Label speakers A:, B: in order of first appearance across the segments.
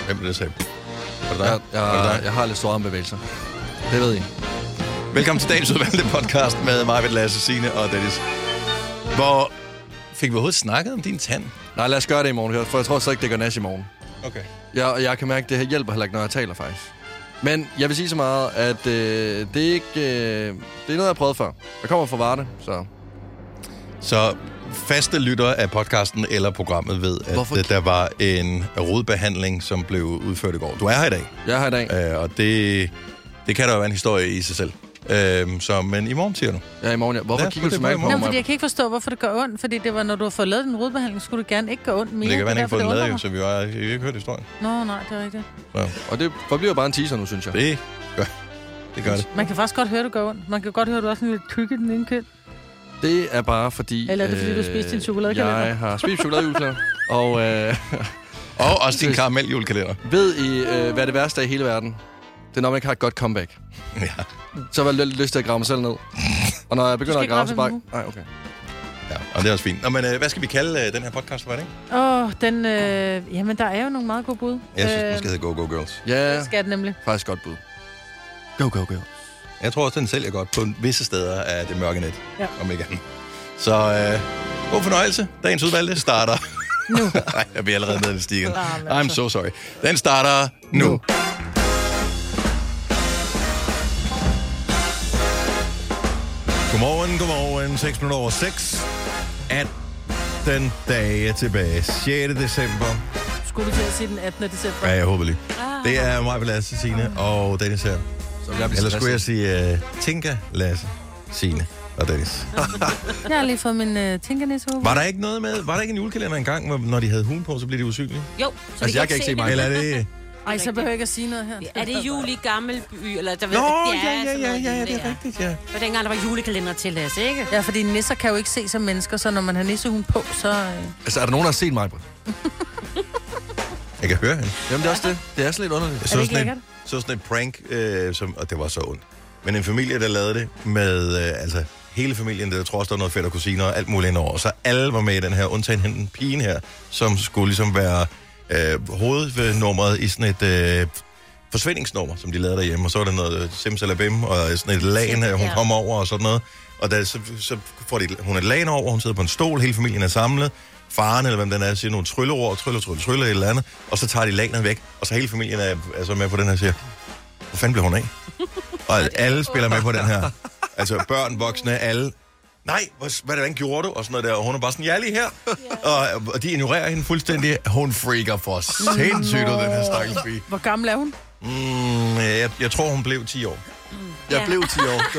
A: eksempel, der sagde... Var det dig?
B: Jeg,
A: Var det
B: jeg,
A: dig?
B: jeg har lidt store armbevægelser. Det ved I.
A: Velkommen til dagens udvalgte podcast med mig, Lasse Signe og Dennis. Hvor fik vi overhovedet snakket om din tand?
B: Nej, lad os gøre det i morgen, for jeg tror så ikke, det gør nas i morgen.
A: Okay.
B: Jeg, og jeg kan mærke, at det her hjælper heller ikke, når jeg taler faktisk. Men jeg vil sige så meget, at øh, det, er ikke, øh, det er noget, jeg har prøvet før. Jeg kommer fra Varde, så...
A: Så faste lyttere af podcasten eller programmet ved, at
B: Hvorfor-
A: Hvorfor? der var en rodbehandling, som blev udført i går. Du er her i dag,
B: Jeg er her i dag.
A: øh, og det, det kan der jo være en historie i sig selv. Øh, så, men i morgen siger du.
B: Jeg er i morgen, ja. Hvorfor
A: Ja,
B: kigger du
A: det
B: så
A: var i
B: meget på
A: morgen.
C: Nå, fordi jeg
B: mig?
C: kan ikke forstå, hvorfor det gør ondt. Fordi det var, når du har fået lavet den rodbehandling, skulle det gerne ikke gøre ondt mere.
A: Men det kan være, han
C: er
A: ikke har fået den
C: derfor, det
A: lavet, jo,
C: undrer
A: så vi har vi har ikke hørt historien.
C: mig. Nå, nej, det er rigtigt.
B: Og det forbliver bare en teaser nu, synes jeg.
A: Det gør det. Gør det.
C: Man kan faktisk godt høre, det gør ondt. Man kan godt høre, at du også er lidt tykke i den ene køn.
B: Det er bare fordi...
C: Eller er det, fordi du
B: øh,
C: spiste din chokoladekalender?
B: Jeg har spist chokoladejusler. og øh,
A: Og også din karameljulekalender.
B: ved I, øh, hvad det værste er i hele verden? Det er, når man ikke har et godt comeback.
A: Ja.
B: Så har jeg lidt lyst til at grave mig selv ned. Og når jeg begynder
C: skal
B: at
C: ikke
B: grave, så
C: grave
B: bare...
C: ham
B: Nej, okay.
A: ja, og det er også fint. Nå, men øh, hvad skal vi kalde øh, den her podcast, var det ikke?
C: Åh, oh, den... Øh, jamen, der er jo nogle meget gode bud. Øh,
A: Jeg synes, den skal hedde Go Go Girls.
B: Øh. Ja,
C: Det skal den nemlig.
B: faktisk godt bud. Go, go, go.
A: Jeg tror også, den sælger godt på visse steder af det mørke net,
C: Ja.
A: ja. om ikke andet. Så øh, god fornøjelse. Dagens udvalgte starter... Nu. altså. Nej, jeg bliver allerede med i stikken.
C: Ah,
A: I'm so sorry. Den starter nu. nu. Godmorgen, godmorgen. 6 minutter over 6. 18 dage tilbage. 6. december.
C: Skulle du til at sige den 18. december?
A: Ja, jeg håber lige. Det er mig, Lasse, Signe og Dennis her.
B: Så vil jeg blive
A: Eller skulle jeg sige
B: stresset.
A: uh, Tinka, Lasse, Signe og Dennis.
C: Jeg har lige fået min øh, tinkernisse
A: Var der ikke noget med, var der ikke en julekalender engang, hvor, når de havde huen på, så blev de usynlige?
D: Jo, så
B: Altså, jeg kan ikke se mig.
A: Eller er det...
C: Ej, så behøver jeg ikke at sige noget her.
D: Er det jul i Gammelby? Eller der ved,
A: Nå,
D: jeg-
A: ja, ja,
D: sådan
A: ja,
D: noget
A: ja, ja,
D: lignende,
A: det er rigtigt, ja.
D: Det var dengang, der var julekalender til os, ikke?
C: Ja, fordi nisser kan jo ikke se som mennesker, så når man har nissehuen på, så... Øh...
B: Altså, er der nogen, der har set mig, Britt?
A: Jeg kan høre hende.
B: Jamen, det er også det. Det er sådan lidt underligt.
A: Jeg
C: Er det
A: så,
C: ikke
A: sådan
C: lækkert?
A: en, så sådan et prank, øh, som, og det var så ondt. Men en familie, der lavede det med øh, altså, hele familien, der tror også, der var noget fætter og kusiner og alt muligt indover. Så alle var med i den her, undtagen hende, pigen her, som skulle ligesom være øh, hovednummeret i sådan et øh, forsvindingsnummer, som de lavede derhjemme. Og så var der noget øh, simsalabim og sådan et lagen, øh, hun
D: Ja.
A: kom over og sådan noget. Og da, så, så får de, hun et lagen over, hun sidder på en stol, hele familien er samlet. Faren eller hvem den er, siger nogle trylleord, trylle, trylle, trylle et eller andet. Og så tager de lagenet væk, og så hele familien er altså med på den her og siger, hvor fanden blev hun af? Og alle spiller med på den her. Altså børn, voksne, alle. Nej, hvor- hvad, hvordan gjorde du? Og sådan noget der. Og hun er bare sådan, jeg er lige her. Og, og de ignorerer hende fuldstændig. Hun freaker for sindssygt ud, den her stakkels pige.
C: Hvor gammel er hun?
A: Mm, jeg, jeg tror, hun blev 10 år.
B: Jeg blev 10 år.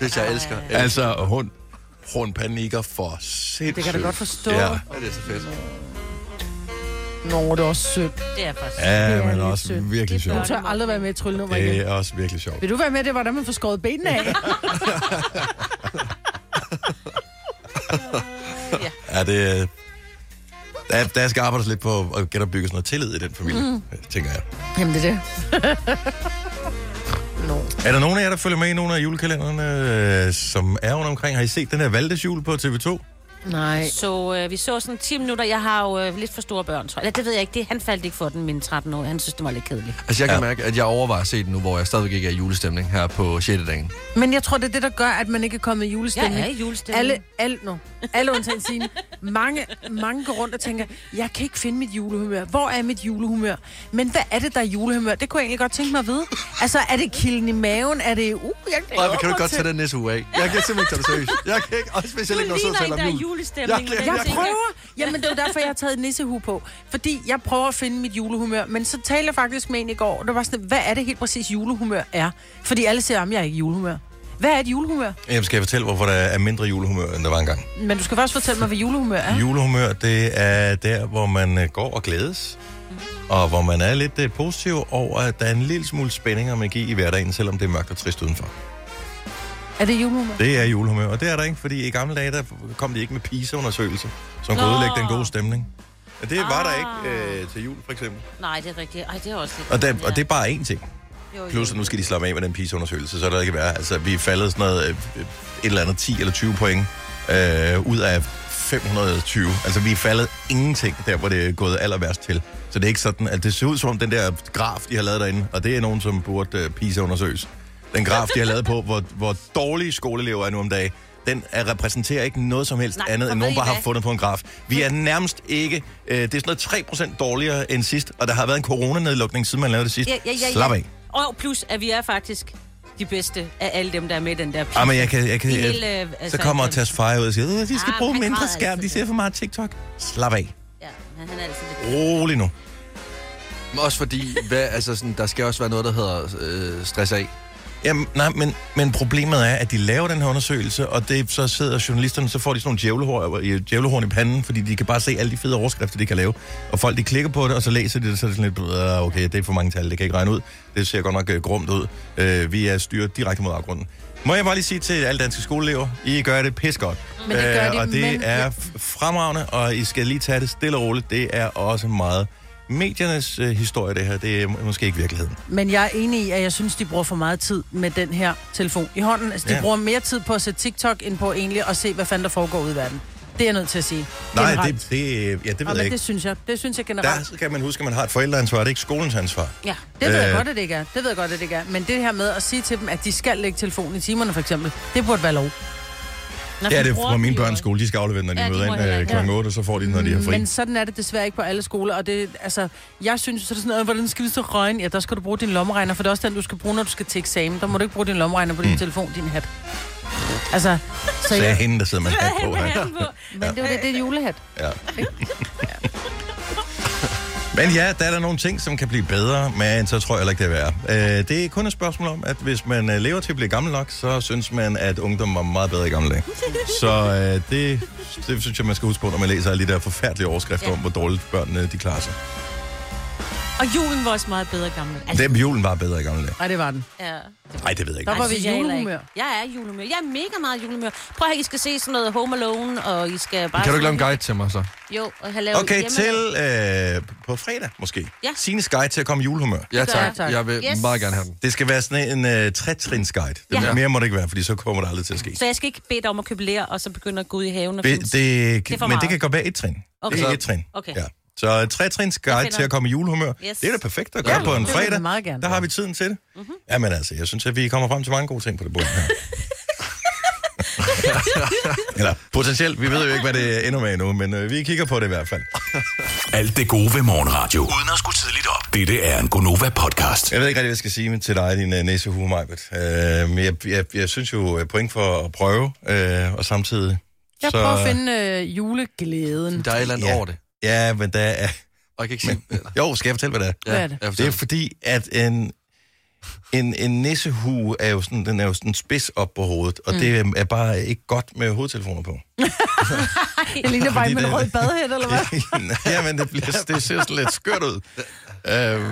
B: Det jeg elsker. Ja,
A: Altså, hun, hun panikker for sindssygt.
C: Det kan jeg da godt forstå.
A: Ja,
B: det er så fedt.
C: Nå, det er også sødt.
D: Det er faktisk.
A: ja
C: Det er
A: men
C: lidt
A: også
C: sødt.
A: virkelig
C: Hun
A: sjovt.
C: tør aldrig være med i et tryllenummer
A: Det
C: igen.
A: er også virkelig sjovt.
C: Vil du være med det, hvordan man får skåret benene af?
A: Ja, det... øh, Der, der skal arbejdes lidt på at genopbygge sådan noget tillid i den familie, mm. tænker jeg.
C: Jamen, det er det. Nå.
A: Er der nogen af jer, der følger med i nogle af julekalenderne, øh, som er rundt omkring? Har I set den her Valdes jul på TV2?
C: Nej.
D: Så øh, vi så sådan 10 minutter. Jeg har jo øh, lidt for store børn, tror jeg. Eller det ved jeg ikke. Det, han faldt ikke for den, min 13-årige. Han synes, det var lidt kedeligt.
B: Altså, jeg kan mærke, at jeg overvejer at se den nu, hvor jeg stadigvæk ikke er i julestemning her på 6. dagen.
C: Men jeg tror, det er det, der gør, at man ikke er kommet i julestemning.
D: Jeg er i julestemning.
C: Alle, alle, no. alle undtagen sine. Mange, mange går rundt og tænker, jeg kan ikke finde mit julehumør. Hvor er mit julehumør? Men hvad er det, der er julehumør? Det kunne jeg egentlig godt tænke mig at vide. Altså, er det kilden i maven? Er det... Uh, jeg
B: Nej,
C: glæder
B: men kan du
C: mig
B: godt
C: til-
B: tage den næste uge af? Jeg kan simpelthen ikke tage det seriøst. Jeg kan ikke, også hvis jeg ikke når sidder og taler om
D: der er
B: jul.
D: julestemning.
B: Jeg-
D: hvordan
B: jeg
C: Jeg
D: tænker-
C: prøver. Jamen, det er jo derfor, jeg har taget nissehue på. Fordi jeg prøver at finde mit julehumør. Men så talte jeg faktisk med en i går, og der var sådan, hvad er det helt præcis julehumør er? Fordi alle siger, at jeg er ikke i julehumør. Hvad er et julehumør?
A: Jamen, skal jeg fortælle, hvorfor der er mindre julehumør, end der var engang?
C: Men du skal først fortælle mig, hvad julehumør er.
A: Julehumør, det er der, hvor man øh, går og glædes, og hvor man er lidt øh, positiv over, at der er en lille smule spænding og magi i hverdagen, selvom det er mørkt og trist udenfor.
C: Er det julehumør?
A: Det er julehumør, og det er der ikke, fordi i gamle dage, der kom de ikke med PISA-undersøgelser, som kunne
D: Nå.
A: ødelægge den gode stemning. Og det var
D: Ah.
A: der ikke øh, til jul, for eksempel.
D: Nej, det er rigtigt. Ej, det er også lidt...
A: Og, der,
D: Ja.
A: og det er bare én ting.
D: Jo, jo.
A: Plus, at nu skal de slappe af med den PISA-undersøgelse, så er der ikke værre. Altså, vi er faldet sådan noget, øh, øh, et eller andet 10 eller 20 point øh, ud af 520. Altså, vi er faldet ingenting der, hvor det er gået aller værst til. Så det er ikke sådan, at det ser ud som om den der graf, de har lavet derinde, og det er nogen, som burde uh, PISA-undersøges. Den graf, de har lavet på, hvor, hvor dårlige skoleelever er nu om dagen, den er, repræsenterer ikke noget som helst
D: Nej,
A: Nej, andet,
D: for
A: end nogen
D: ved I
A: bare har
D: hvad?
A: fundet på en graf. Vi er nærmest ikke... Øh, det er sådan noget 3% dårligere end sidst, og der har været en coronanedlukning, siden man lavede det sidst.
D: Ja, ja, ja, ja.
A: Slap af.
D: Og plus, at vi er faktisk de bedste af alle dem, der er med i den der pige.
A: Ja, Ah, men jeg kan... Jeg kan
D: I
A: jeg,
D: hele, øh,
A: så
D: altså,
A: kommer
D: øh,
A: Tess Fire ud og siger, "Øh, de skal
D: Ah,
A: bruge
D: han
A: mindre
D: græder
A: skærm,
D: altid.
A: de ser for meget TikTok. Slap af.
D: Ja, men han er altid lidt...
A: Rolig nu.
B: Men Også fordi, hvad, altså sådan, der skal også være noget, der hedder øh, stress af.
A: Jamen, nej, men, men problemet er, at de laver den her undersøgelse, og det, så sidder journalisterne, så får de sådan nogle djævlehår, i- djævlehorn i panden, fordi de kan bare se alle de fede overskrifter, de kan lave. Og folk, de klikker på det, og så læser de det, så er det sådan lidt, "Ah, okay, det er for mange tal, det kan jeg ikke regne ud. Det ser godt nok øh, grumt ud. Øh, vi er styret direkte mod afgrunden. Må jeg bare lige sige til alle danske skoleelever, I gør det pis godt. Øh,
E: Men det gør de,
A: og det
E: men-
A: er f- fremragende, og I skal lige tage det stille og roligt. Det er også meget mediernes øh, historie, det her. Det er må- måske ikke virkeligheden.
E: Men jeg er enig i, at jeg synes, de bruger for meget tid med den her telefon i hånden. Altså, de
A: Ja.
E: ja. bruger mere tid på at se TikTok, end på egentlig at se, hvad fanden der foregår ude i verden. Det er jeg nødt til at sige.
A: Nej,
E: Generelt.
A: det, det, ja, det ved
E: Nå,
A: jeg
E: men
A: ikke.
E: det synes jeg. Det synes jeg generelt.
A: Der skal man huske, at man har et forældreansvar. Det er ikke skolens ansvar.
D: Ja.
E: Det ved jeg
A: Øh.
E: godt, at det ikke er. Det ved jeg godt, at det ikke er. Men det her med at sige til dem, at de skal lægge telefonen i timerne, for eksempel, det burde være lov.
D: Nå,
A: Det er
D: så
A: det
D: bruger
A: fra
D: de
A: min
D: jo
A: børns
D: også.
A: skole. De skal aflevere, når de
D: Ja, de
A: møder
D: må heller
A: ind
D: ikke.
A: kl. 8, og så får de, når de har fri.
E: Men sådan er det desværre ikke på alle skoler, og det, altså, jeg synes, så er det sådan, "Øh, hvordan skal vi så regne? Ja, der skal du bruge din lommeregner, for det er også den, du skal bruge, når du skal til eksamen. Der må du ikke bruge din lommeregner på din mm. telefon, din hat. Altså, så
A: Så er
E: jeg,
A: hende, der sidder med hat på.
D: Hvad
A: Her.
D: er han på?
E: men det er jo det, det er julehat.
A: Ja. Men ja, der er der nogle ting, som kan blive bedre, men så tror jeg heller ikke, det er værre. Øh, Det er kun et spørgsmål om, at hvis man øh, lever til at blive gammel nok, så synes man, at ungdom var meget bedre i gamle dage. Så øh, det, det synes jeg, man skal huske på, når man læser alle de der forfærdelige overskrifter
D: Ja.
A: om, hvor dårligt børnene de klarer sig.
D: Og julen var også meget bedre gammel. Altså,
A: Den julen var bedre i gamle dage.
E: Nej, det var den.
D: ja.
A: Nej, det ved jeg ikke.
E: Der var
D: Ej,
E: vi i
D: synes jeg heller ikke.
E: julehumør.
D: Jeg er i julehumør. Jeg er mega meget i julehumør. Prøv at høre, I skal se sådan noget Home Alone, og I skal bare...
B: Kan du ikke lave en guide til mig så?
D: Jo, og have lavet
A: Okay,
D: hjemme-
A: til øh, på fredag måske.
D: Ja.
A: Sines guide til at komme i julehumør.
B: Ja
D: Gør
B: tak.
D: jeg.
E: Tak.
B: Jeg vil
D: Yes.
B: meget gerne have den.
A: Det skal være sådan en øh, trætrins guide. Det
D: Ja.
A: Mere må det ikke være, fordi så kommer det aldrig til at ske.
D: Så jeg skal ikke bede dig om at købe lær, og så begynde at gå ud i haven og
A: Be,
D: finde-
A: det,
D: er for
A: det men det
D: meget.
A: kan godt være et trin.
D: Okay.
A: Det er
D: Så-
A: et trin.
D: okay.
A: Ja. Så et trætrins guide
D: finder
A: til at komme i julehumør.
D: Yes.
A: Det er det perfekte at
B: Ja,
A: gøre på en
E: det vil jeg
A: fredag.
E: meget gerne.
A: Der har vi tiden til det. Mm-hmm. Jamen altså, jeg synes, at vi kommer frem til mange gode ting på det bord her. Eller potentielt, vi ved jo ikke, hvad det ender med endnu, men øh, vi kigger på det i hvert fald.
F: Alt det gode ved morgenradio. Uden at skulle tidligt op. Dette er en Gonova-podcast.
A: Jeg ved ikke rigtig, hvad jeg skal sige men til dig, din uh, næsehue, Majbet. Uh, men jeg, jeg, jeg synes jo, uh, point for at prøve, uh, og samtidig...
E: Jeg prøver at finde øh, juleglæden.
B: Der er et eller andet
A: Ja.
B: over det.
A: Ja, men der er...
B: Og jeg kan ikke sige...
A: Men, jo, skal jeg fortælle, hvad det er?
E: Hvad er det?
B: jeg
A: Det er
B: forstår.
A: fordi, at en, en, en nissehue er jo sådan, den er jo sådan spids op på hovedet, og mm. det øhm, er bare ikke godt med hovedtelefoner på.
E: Det ligner bare
A: Fordi
E: en med en
A: det-
E: rød badehæt, eller hvad?
A: ja, men det, bliver, det ser sådan lidt skørt ud. Uh,
E: Nej, nu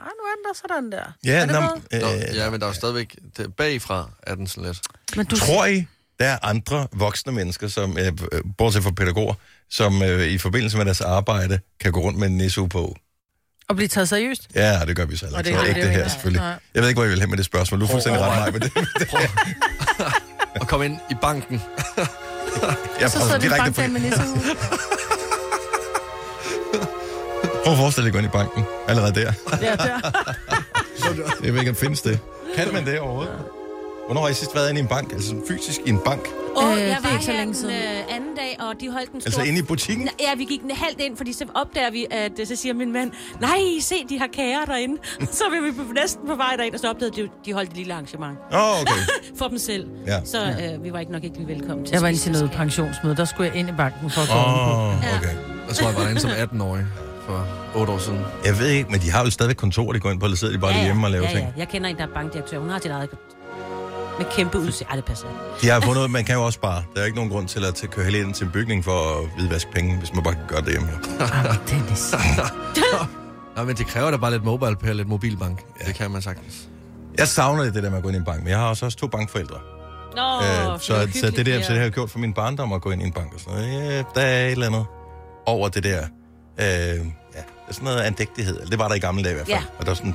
E: er den der sådan der.
A: ja,
E: er det
A: nå,
E: noget?
A: øh,
B: Nå, ja, men der er jo stadigvæk... Det, bagfra er den sådan lidt...
E: Men du
A: Tror I, der er andre voksne mennesker, som, øh, øh, bortset fra pædagoger, som øh, i forbindelse med deres arbejde kan gå rundt med en nissehue på?
E: at blive taget seriøst?
A: Ja, det gør vi så heller
E: Og det
A: ikke.
E: gør
A: Så
E: vi
A: ikke
E: jo
A: det her,
E: ikke, nej.
A: selvfølgelig.
E: Nej.
A: Jeg ved ikke, hvor jeg vil hen med det spørgsmål. Du er fuldstændig ret mig med det.
B: Og komme ind i
A: Jeg
B: banken.
E: Så sidder
A: prøver
E: vi i
A: direkte på...
E: bankdagen med nissehue.
A: Prøv at forestille dig at gå ind i banken. Allerede der.
E: Ja, der.
A: Jeg ved ikke, om findes det. Kan man det overhovedet? Hvornår har I sidst været inde i en bank? Altså sådan fysisk i en bank?
D: Åh,
E: Øh,
D: jeg
E: det er
D: var
E: ikke så
D: her
E: længe
D: den
E: siden.
D: øh, anden dag, og de holdt en stor...
A: Altså inde i butikken?
D: Nå, Ja, vi gik en halvt ind, fordi så opdager vi, at øh, så siger min mand, nej, se, de har kager derinde. så er vi på- næsten på vej derind, og så opdagede de, de holdt et lille arrangement
A: Åh, oh, okay.
D: for dem selv.
A: Ja.
D: Så øh, vi var ikke nok ikke lige velkommen til.
E: Jeg var
D: at
E: inde til
D: spise.
E: noget pensionsmøde. Der skulle jeg ind i banken for at gå oh.
A: Åh, oh, okay.
B: Jeg tror, jeg var derinde som 18-årig for 8 år siden.
A: Jeg ved ikke, men de har jo stadigvæk kontor, de går ind på, eller sidder de bare ja, hjemme og laver
D: ja,
A: ting.
D: Ja. Jeg kender en, der er bankdirektør. Hun har sit eget med kæmpe udsigt. Ej, det passer ikke.
A: Hm. De har fundet ud af, at man kan jo også spare. Der er ikke nogen grund til at t- køre hele ind til en bygning for at hvidvaske penge, hvis man bare kan gøre det hjemme.
E: Dennis.
B: Nej, men det kræver da bare lidt mobile pay og lidt mobilbank. Ja. Det kan man sagtens.
A: Jeg savner det der med at gå ind i en bank, men jeg har også, også to bankforældre.
D: Nå,
A: Øh,
D: var
A: så, så
D: hyggeligt,
A: det der, så det har jeg gjort for min barndom at gå ind i en bank og sådan noget. Ja, der er et eller andet over det der. Øh, ja, sådan noget andægtighed. Eller Det var der i gamle dage i hvert fald.
D: Ja.
A: Og der var, sådan,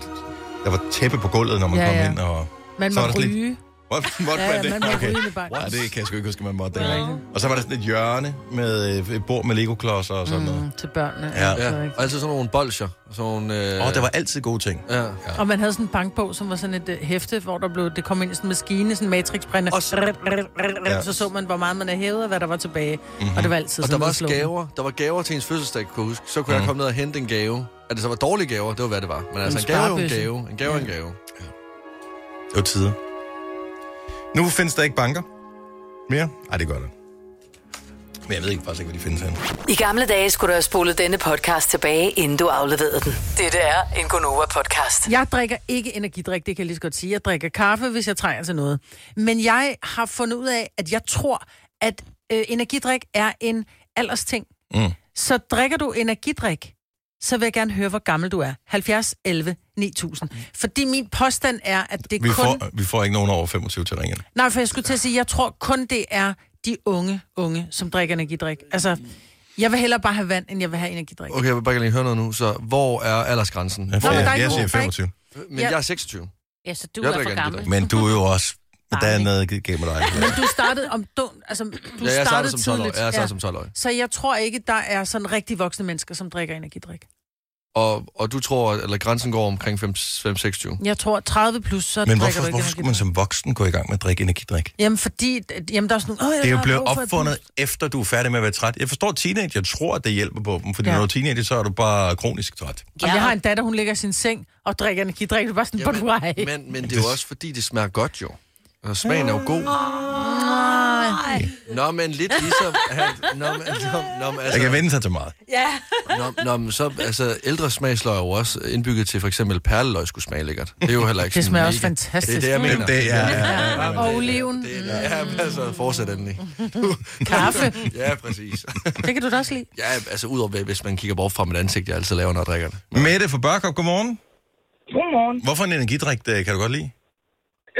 A: der var tæppe på gulvet, når man
E: Ja,
A: kom
E: ja.
A: ind. Og,
E: Man
A: Så
E: må
A: er der slet-
E: ryge.
A: Måtte, måtte
C: Ja,
A: man det?
C: man må ryge med bank.
A: Nej, det kan jeg sgu ikke huske, man måtte dengang. Og så var der sådan et hjørne med øh, et bord med legoklodser og sådan mm. noget.
C: Mm, til børnene.
A: Ja.
C: altså,
B: Ja,
C: ikke?
B: og altid sådan nogle bolcher. Sådan nogle, øh,
A: Og der var altid gode ting.
B: Ja.
C: Og man havde sådan en bankbog, som var sådan et øh, hæfte, hvor der blev, det kom ind i sådan en maskine, sådan en matrixbrænde.
B: Og
C: Og
B: så-
C: så,
A: Ja.
C: så så man, hvor meget man havde hævet, og hvad der var tilbage. Mm-hmm. Og det var altid
B: Mhm. Og der
C: sådan
B: var også
C: nedslående.
B: gaver. Der var gaver til ens fødselsdag, kunne jeg huske. Så kunne mm. jeg komme ned og hente en gave. At det så var dårlige gaver, det var hvad det var. Men altså, en
C: En
B: gave er jo en
C: sparebøsse.
B: gave. En gave er en gave.
A: Det var tider. Nu findes der ikke banker mere. Nej, det gør der. Men jeg ved ikke, faktisk ikke, hvor de findes henne.
G: I gamle dage skulle du have spolet denne podcast tilbage, inden du afleverede den. Dette er en Gonova-podcast.
C: Jeg drikker ikke energidrik, det kan jeg lige så godt sige. Jeg drikker kaffe, hvis jeg trænger til noget. Men jeg har fundet ud af, at jeg tror, at øh, energidrik er en aldersting.
A: Mm.
C: Så drikker du energidrik, så vil jeg gerne høre, hvor gammel du er. 70, 11, 9000.
D: Mm.
C: Fordi min påstand er, at det
A: Vi,
C: kun...
A: får, vi får ikke nogen over 25 til ringen.
C: Nej, for jeg skulle til at sige, jeg tror kun det er de unge, unge, som drikker energidrik. Altså, jeg vil hellere bare have vand, end jeg vil have energidrik.
B: Okay, jeg vil bare gerne lige høre noget nu. Så hvor er aldersgrænsen?
A: Jeg, får,
C: men der er
A: jeg,
C: ikke
A: jeg
C: nogen
A: siger
C: bank.
A: 25.
B: Men
C: Ja.
B: jeg er 26.
D: Ja, så du
B: Jeg
D: jeg er
B: drikker
D: for
B: ikke
D: gammel.
B: det
A: Men du er jo også... Der er
D: Barnlig.
A: noget gennem dig.
C: Men du startede om du, altså, du
B: Ja, jeg startede
C: startede
B: som 12 år.
C: tidligt.
B: Jeg startede som 12 år.
C: Så jeg tror ikke, der er sådan rigtig voksne mennesker, som drikker energidrik.
B: Og, og du tror, at eller grænsen går omkring 5-26.
C: Jeg tror 30 plus, så
A: Men
C: drikker du
A: hvorfor,
C: ikke
A: hvorfor skulle man
C: energidrik.
A: som voksen gå i gang med at drikke energidrik?
C: Jamen fordi, jamen der er sådan, Åh, jeg
A: Det er jo
C: har
A: blevet
C: brug for et
A: opfundet
C: boost."
A: efter du er færdig med at være træt. Jeg forstår, at teenager tror, at det hjælper på dem, fordi
C: Ja.
A: når du er teenager, så er du bare kronisk træt.
C: Jamen, jeg har en datter, hun ligger i sin seng og drikker energidrik. Det er bare sådan, på vej.
B: men, men det er jo også, fordi det smager godt jo. Og smagen er jo god. Nå, men lidt ligesom... at- Nå, men, nå, nå, men,
A: Jeg kan
B: altså,
A: vende sig til meget.
B: nå, nå, men så, altså, ældre smagsløg er jo også indbygget til, for eksempel perleløg skulle smage lækkert. Det er jo heller ikke
C: Det
B: sådan
C: smager også
B: mega-
C: fantastisk.
B: Det er det, jeg mener.
A: Det, det er, ja, ja.
C: Og oliven,
B: Det, det, ja, men altså, fortsæt endelig.
C: kaffe,
B: Ja, præcis.
C: det kan du da også lide.
B: Ja, altså, udover hvis man kigger bort fra mit ansigt, jeg altid laver, når jeg drikker det.
A: Mette fra Børkop, godmorgen.
H: Godmorgen.
A: Hvorfor en energidrik øh, kan du godt lide?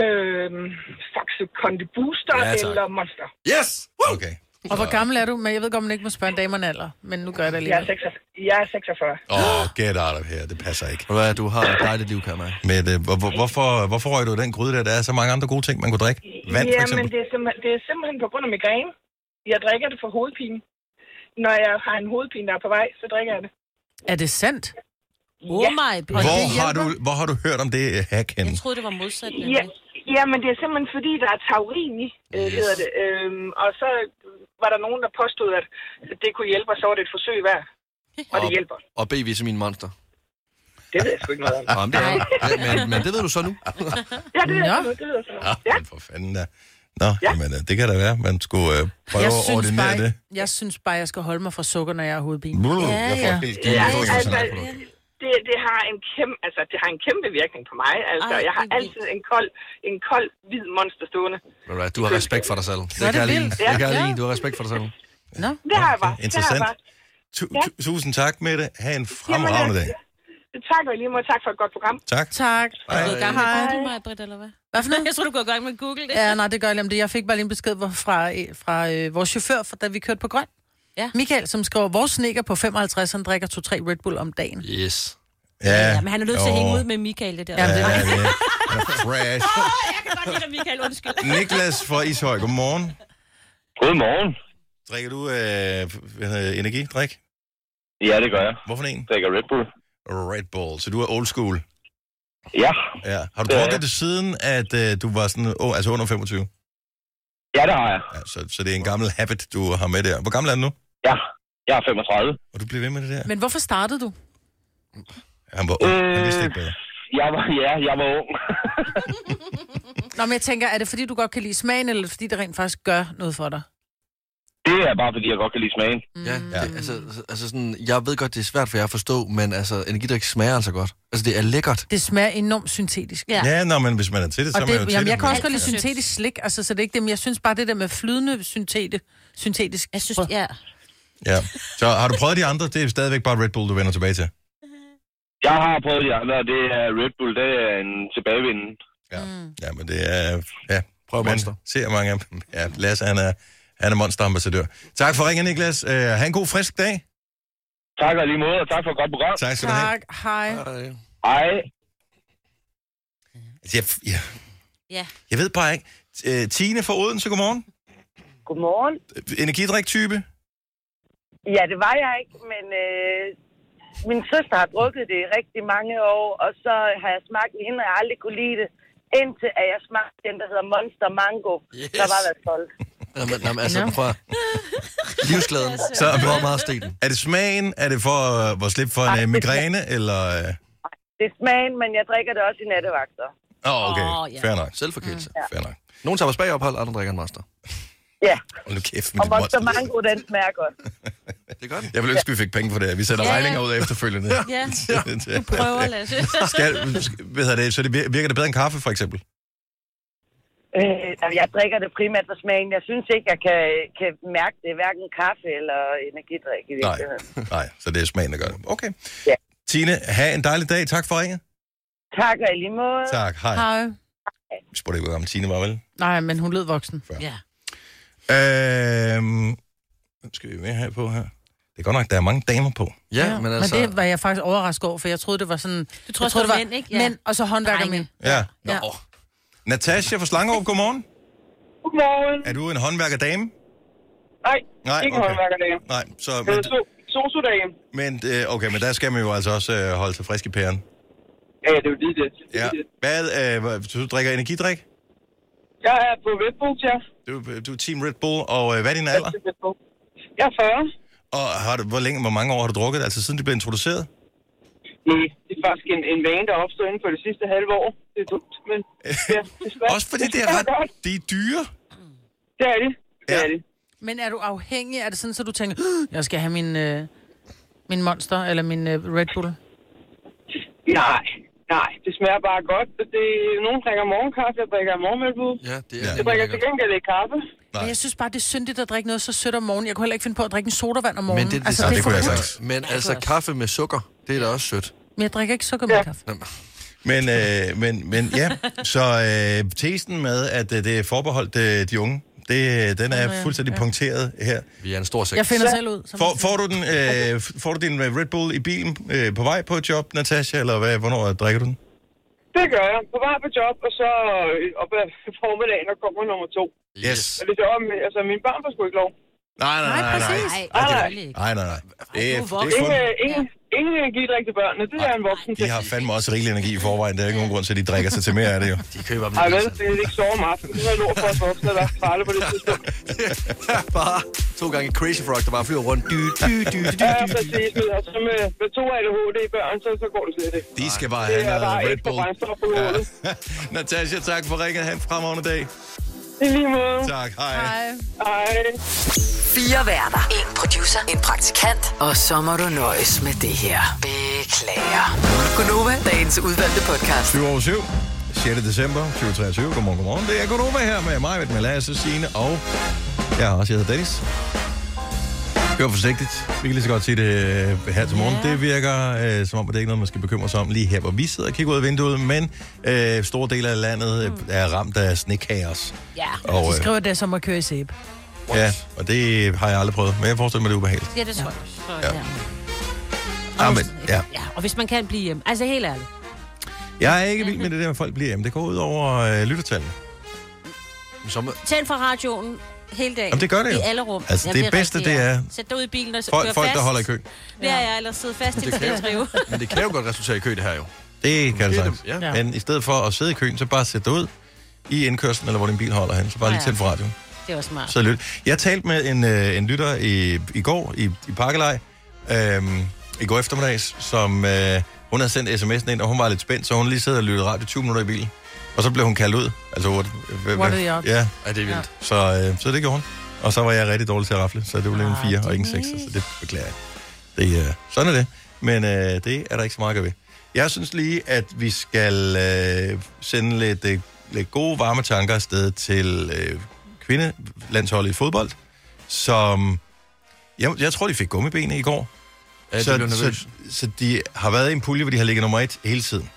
H: Øhm, Faxe Conde Booster
B: Ja,
H: ja,
B: tak.
H: eller Monster.
B: Yes! Woo!
A: Okay.
C: Og hvor gammel er du? Men jeg ved godt, man ikke må spørge en dame om alder, men nu gør jeg det
H: Jeg er,
C: alligevel.
H: 46, jeg er 46.
A: Åh, oh, get out of here. Det passer ikke.
B: Ved du Hvad, du har et dejligt liv, kan jeg mærke.
A: Mette, hvor, hvor- hvorfor, hvorfor røg du i den gryde der? Der er så mange andre gode ting, man kunne drikke. Vand, for
H: ja, men
A: eksempel.
H: det er, simpelthen, det er simpelthen på grund af migræne. Jeg drikker det for hovedpine. Når jeg har en hovedpine, der er på vej, så drikker jeg det.
C: Er det sandt?
D: Oh my god.
A: Hvor
D: Det hjælper.
A: har, du, hvor har du hørt om det øh, hack henne?
D: Jeg troede, det var modsat.
H: Ja,
D: nemlig.
H: ja, men det er simpelthen fordi, der er taurin i, yes. hedder det. Øhm, og så var der nogen, der påstod, at det kunne hjælpe, og så var det et forsøg værd. Og det
B: Og-
H: hjælper.
B: Og B-vitamin monster.
H: Det ved jeg sgu ikke noget om.
B: Nå, men, det er, ja, men, men det ved du så nu.
H: Ja, det ved jeg
C: Nå.
H: sådan noget. Det ved jeg sådan noget.
A: Ja, men for fanden da. Nå, ja. jamen, øh, det kan da være. Man skulle øh, prøve
C: Jeg
A: at
C: synes,
A: ordinere
C: bare,
A: det.
C: jeg synes bare, jeg skal holde mig fra sukker, når jeg har hovedpine.
A: Ja,
C: Ja,
A: jeg får
C: ja.
A: helt
H: Ja,
A: Jeg får helt
H: altså,
A: sådan her.
H: det, det, har en kæmpe, altså, det har en kæmpe virkning på mig. Altså,
D: Ej,
H: jeg har
D: det er vildt.
H: altid en kold, en kold, hvid monster stående.
B: Ved du hvad, Du har respekt for dig selv. Det
C: er
B: kan jeg
C: det
B: lide.
C: vildt.
B: Det kan jeg lide. Du har respekt for dig selv.
C: Nå?
H: Det har jeg bare. Det har
A: Interessant.
H: jeg bare.
A: Tu-
H: Ja.
A: tu- Tusind tak, Mette. Ha' en fremragende dag.
H: Tak og i lige måde. Tak for et godt program.
A: Tak.
C: Tak.
D: Er du gået i gang med Google, mig, Britt, eller hvad?
C: Hvad for noget?
D: Jeg tror, du går i gang med Google det.
C: Ja, nej, det gør jeg lige om det. Jeg fik bare lige en besked hvor- fra, øh, fra øh, vores chauffør, fra, da vi kørte på grøn.
D: Ja.
C: Michael, som skriver, vores snekker på 55, han drikker 2-3 Red Bull om dagen.
B: Yes.
D: Ja, men han er nødt til at
A: Jo.
D: hænge ud med Michael, det der.
C: Ja,
D: Ja.
C: men det,
A: Ja, det er- det er fresh.
D: Jeg kan godt lide dig, Michael, undskyld.
A: Niklas fra Ishøj, godmorgen.
I: Godmorgen.
A: Drikker du øh, hvad hedder det, energidrik?
I: Ja, det gør jeg.
A: Hvorfor en?
I: Drikker Red Bull.
A: Red Bull, så du er old school.
I: Ja.
A: Ja. Har du
I: Ja.
A: drukket det siden, at øh, du var sådan, oh, altså under 25?
I: Ja, det har jeg.
A: Ja, så, så det er en gammel habit, du har med der. Hvor gammel er du nu?
I: Ja. Jeg er 35.
A: Og du bliver ved med det der?
C: men hvorfor startede du?
A: Han var ung, han
I: Øh.
A: vidste ikke bedre.
I: Jeg var, ja, jeg var ung.
C: Nå, men jeg tænker, er det fordi, du godt kan lide smagen, eller er det fordi det rent faktisk gør noget for dig?
I: det er bare, fordi jeg godt kan lide smagen.
C: Mm.
B: Ja, det, altså, altså sådan, jeg ved godt, det er svært for jer at forstå, men altså, energidrik smager altså godt. Altså, det er lækkert.
C: Det smager enormt syntetisk.
D: Ja.
A: Ja, nå, men hvis man er til det, så
C: Og
A: er
C: det,
A: man jo til
C: jamen,
A: det.
C: jeg kan også godt lide
D: Alt for
C: syntetisk slik, altså, så det er ikke det, men jeg synes bare, det der med flydende syntete, syntetisk
D: Jeg synes,
C: brød.
D: ja.
A: Ja. Så har du prøvet de andre? Det er stadigvæk bare Red Bull, du vender tilbage til.
I: Jeg har prøvet de andre, og det er Red Bull. Det er en tilbagevinden.
A: Ja, mm. ja men det er... Ja.
B: Prøv
A: Man
B: monster.
A: ser mange af dem. Ja, Lasse, han er, han er monsterambassadør. Tak for ringen, Niklas. Uh, ha' en god frisk dag.
I: Tak og i lige måde, og tak for et godt program.
A: Tak skal du have.
C: Tak, hej.
B: Ej.
I: Hej.
A: Altså, jeg, ja.
D: Ja.
A: Jeg ved bare ikke. Øh, Tine fra Odense, godmorgen.
J: Godmorgen.
A: Energidrik-type?
J: Ja, det var jeg ikke, men øh, min søster har drukket det i rigtig mange år, og så har jeg smagt den hende, og jeg har aldrig kunne lide det, indtil at jeg smagte den, der hedder Monster Mango.
B: Yes.
J: Yes. Der var jeg solgt.
B: Jamen, jamen altså, prøv at... Livsglæden.
A: Så
B: Så hvor meget stenen.
A: er det smagen? Er det for øh, at slippe for en
J: Ej,
A: øh,
J: det-
A: migræne? Eller... øh,
J: Det er smagen, men jeg drikker det også i nattevagter.
A: Åh, oh, okay.
D: Åh, ja.
A: Fair nok.
B: Selvforkælelse.
A: Fair nok.
C: Mm.
B: Nogen tager spagophold, andre drikker en master.
J: Ja,
A: Hold nu kæft med
J: og
A: det
J: Monster
A: monster.
J: Mango, den smager godt.
B: Det er godt.
A: Jeg vil ønske, vi fik penge for det. Vi sender
D: Ja.
A: regninger ud af efterfølgende.
D: Ja.
A: Du
D: Prøver, Lasse.
A: Skal, hvad hedder det, så det vir- virker det bedre end kaffe, for eksempel?
J: Øh, altså, jeg drikker det primært for smagen. Jeg synes ikke, jeg kan, kan mærke det, hverken kaffe eller energidrik i
A: Nej.
J: virkeligheden.
A: Nej, så det er smagen, der gør det. Okay.
J: Ja.
A: Tine, have en dejlig dag. Tak for ringen.
J: Tak og i lige måde.
A: Tak. Hej.
C: Hej.
A: Vi spurgte ikke, hvor gammel Tine var, vel?
C: Nej, men hun lød voksen.
D: ja.
A: Øhm, hvem skal vi mere have på her? Det er godt nok, der er mange damer på.
B: Ja, men altså...
C: men det var jeg faktisk overrasket over, for jeg troede, det var sådan... Du
D: troede, det var mænd, ikke? Ja.
C: Mænd, og så håndværkermænd.
D: Drenge.
A: Ja.
B: Nå,
C: Ja.
B: åh.
A: Natasha fra Slangerup, godmorgen.
J: Godmorgen.
A: Er du en håndværkerdame?
J: Nej,
A: Nej,
J: ikke
A: okay.
J: håndværkerdagen.
A: Nej, så...
J: Det
A: Men,
J: er so- sosudagen.
A: men, øh, okay, men der skal man jo altså også øh, holde sig frisk i pæren.
K: Ja, det er jo lige det. Det er
A: Ja.
K: lige det.
A: Hvad, øh, hvad- du drikker energidrik?
J: Jeg er på Red Bull, ja.
A: Du, du er Team Red Bull, og øh, hvad er din alder?
J: Red Bull. Jeg er 40.
A: Og har du, hvor, længe, hvor mange år har du drukket, altså siden det blev introduceret?
J: Nej, det er faktisk en, en vane, der opstod inden for det sidste halve år. Det er dumt, men ja, det er svært.
A: Også fordi det er
J: smager
A: ret,
J: godt.
A: de er dyre.
J: Det er det. Det
A: Ja.
J: er det.
C: Men er du afhængig? Er det sådan, så du tænker, "Åh, jeg skal have min, øh, min monster eller min øh, Red Bull?
J: Nej, nej, det smager bare godt. Det, nogen drikker morgenkaffe, jeg drikker morgenmælkebud.
B: Ja, det
A: Ja.
B: er
J: Jeg
B: nemlig
J: drikker til
B: lækkert.
J: gengæld ikke kaffe.
A: Nej.
C: Men jeg synes bare, det er syndigt at drikke noget så sødt om morgenen. Jeg kunne heller ikke finde på at drikke en sodavand om
B: Men
C: morgenen.
B: det, det,
C: altså,
B: det,
C: det,
A: det
C: er for
A: kunne
C: jeg
A: jeg sagtens.
B: Men altså, kaffe med sukker, det er da også sødt.
C: Men jeg drikker ikke sukkermælkaffe.
B: Jamen,
A: Men, øh, men, men ja, så øh, tesen med, at øh, det er forbeholdt øh, de unge, det, øh, den er fuldstændig punkteret her.
B: Vi er en stor sekt.
C: Jeg finder selv ud. som
A: Får,
C: man siger.
A: får, du, den, øh, får du din øh, Red Bull i bilen øh, på vej på et job, Natasha, eller hvad, hvornår øh, drikker du den?
J: Det gør jeg. På vej på job, og så øh, op ad formiddagen, der kommer nummer to.
A: Yes.
J: Og det er om, altså mine børn får sgu ikke lov.
A: Nej, nej, nej, nej.
C: præcis.
A: Ja, det-
D: selvfølgelig ikke.
A: Nej, nej, nej. Det er, det
D: voksen.
A: er
J: Ingen, øh,
A: kun,
J: ingen, ingen energidrik til børnene, det er en voksen
A: de
J: til.
A: har fandme også rigelig energi i forvejen. Der er ikke nogen grund til, at de drikker sig til mere af det jo.
B: De køber dem
J: Ej, vel, det er ikke sove om aftenen. Det er lort for os voksne, der er farligt på det tidspunkt.
B: bare to gange Crazy Frog, der bare flyver rundt. Dy, dy, dy, dy,
J: Ja,
B: dy, dy.
J: præcis. Og så med, med to ADHD-børn, så, så går det slet ikke.
A: De skal bare
J: Det
A: have
J: er bare
A: noget Red
J: ekstra
A: Bull.
J: brændstof på hovedet.
A: Natasha, tak for ringet. Ha' en fremragende dag.
J: I lige måde.
A: Tak, hej.
J: Hej.
G: Fire værter. En producer. En praktikant. Og så må du nøjes med det her. Beklager. Gunova, dagens udvalgte podcast.
A: 20 over 7. 6. december 2023. Godmorgen, godmorgen. Det er Gunova her med mig, med Lasse, Signe og jeg har også, jeg hedder Dennis. Kør forsigtigt. Vi kan lige så godt sige det øh, her til morgen.
D: Ja.
A: Det virker øh, som om, at det ikke er noget, man skal bekymre sig om lige her, hvor vi sidder og kigger ud af vinduet, men øh, store dele af landet øh, er ramt af snekaos.
D: Ja.
A: Og, øh,
C: De skriver det som at køre i sæbe.
A: ja, og det har jeg aldrig prøvet, men jeg forestiller mig, det er ubehageligt.
D: Ja, det tror jeg. Så, Ja.
A: Ah, men, ja.
D: ja. Og hvis man kan blive hjemme. Altså helt ærligt.
A: Jeg er ikke vild med det der, med folk bliver hjemme. Det går ud over øh, lyttertallene.
B: Så må-
D: Tænd fra radioen hele dagen.
A: Jamen, det gør det jo.
D: I alle rum.
A: Altså, det bedste,
D: rigtigt, ja.
A: det er-
D: Sæt dig ud i bilen og
A: Folk,
D: kør
A: folk
D: fast.
A: der holder i kø.
D: Ja, ja, eller sidde fast i
B: Det kan jeg.
D: trive.
B: Men det kan jo godt resultere i kø, det her jo.
A: Det kan det
B: det-
A: sagtens. Ja.
B: ja.
A: Men i stedet for at sidde i køen, så bare sæt dig ud i indkørslen, eller hvor din bil holder hen. Så bare lige
D: Ja.
A: tænd for radioen.
D: Det var smart.
A: Så lyt. Jeg talte med en, øh, en lytter i, i går i, i Parkelej, øhm, i går eftermiddags, som øh, hun havde sendt sms'en ind, og hun var lidt spændt, så hun lige sad og lyttede radio 20 minutter i bilen. Og så blev hun kaldt ud. Altså, what, what,
C: What are the odds?
A: Ja,
B: Ja, det er vildt.
A: så, øh, så det gjorde hun. Og så var jeg rigtig dårlig til at rafle, så det blev en
D: Ah,
A: 4 og ikke en 6,
D: Dennis.
A: så det beklager jeg. Det, øh, sådan er det. Men øh, det er der ikke så meget at gøre ved. Jeg synes lige, at vi skal øh, sende lidt, øh, lidt gode, varme tanker afsted til øh, kvindelandsholdet i fodbold, som... Jeg, jeg tror, de fik gummiben i går.
B: Ja, det
A: så,
B: bliver nervøs.
A: så, så de har været i en pulje, hvor de har ligget nummer et hele tiden.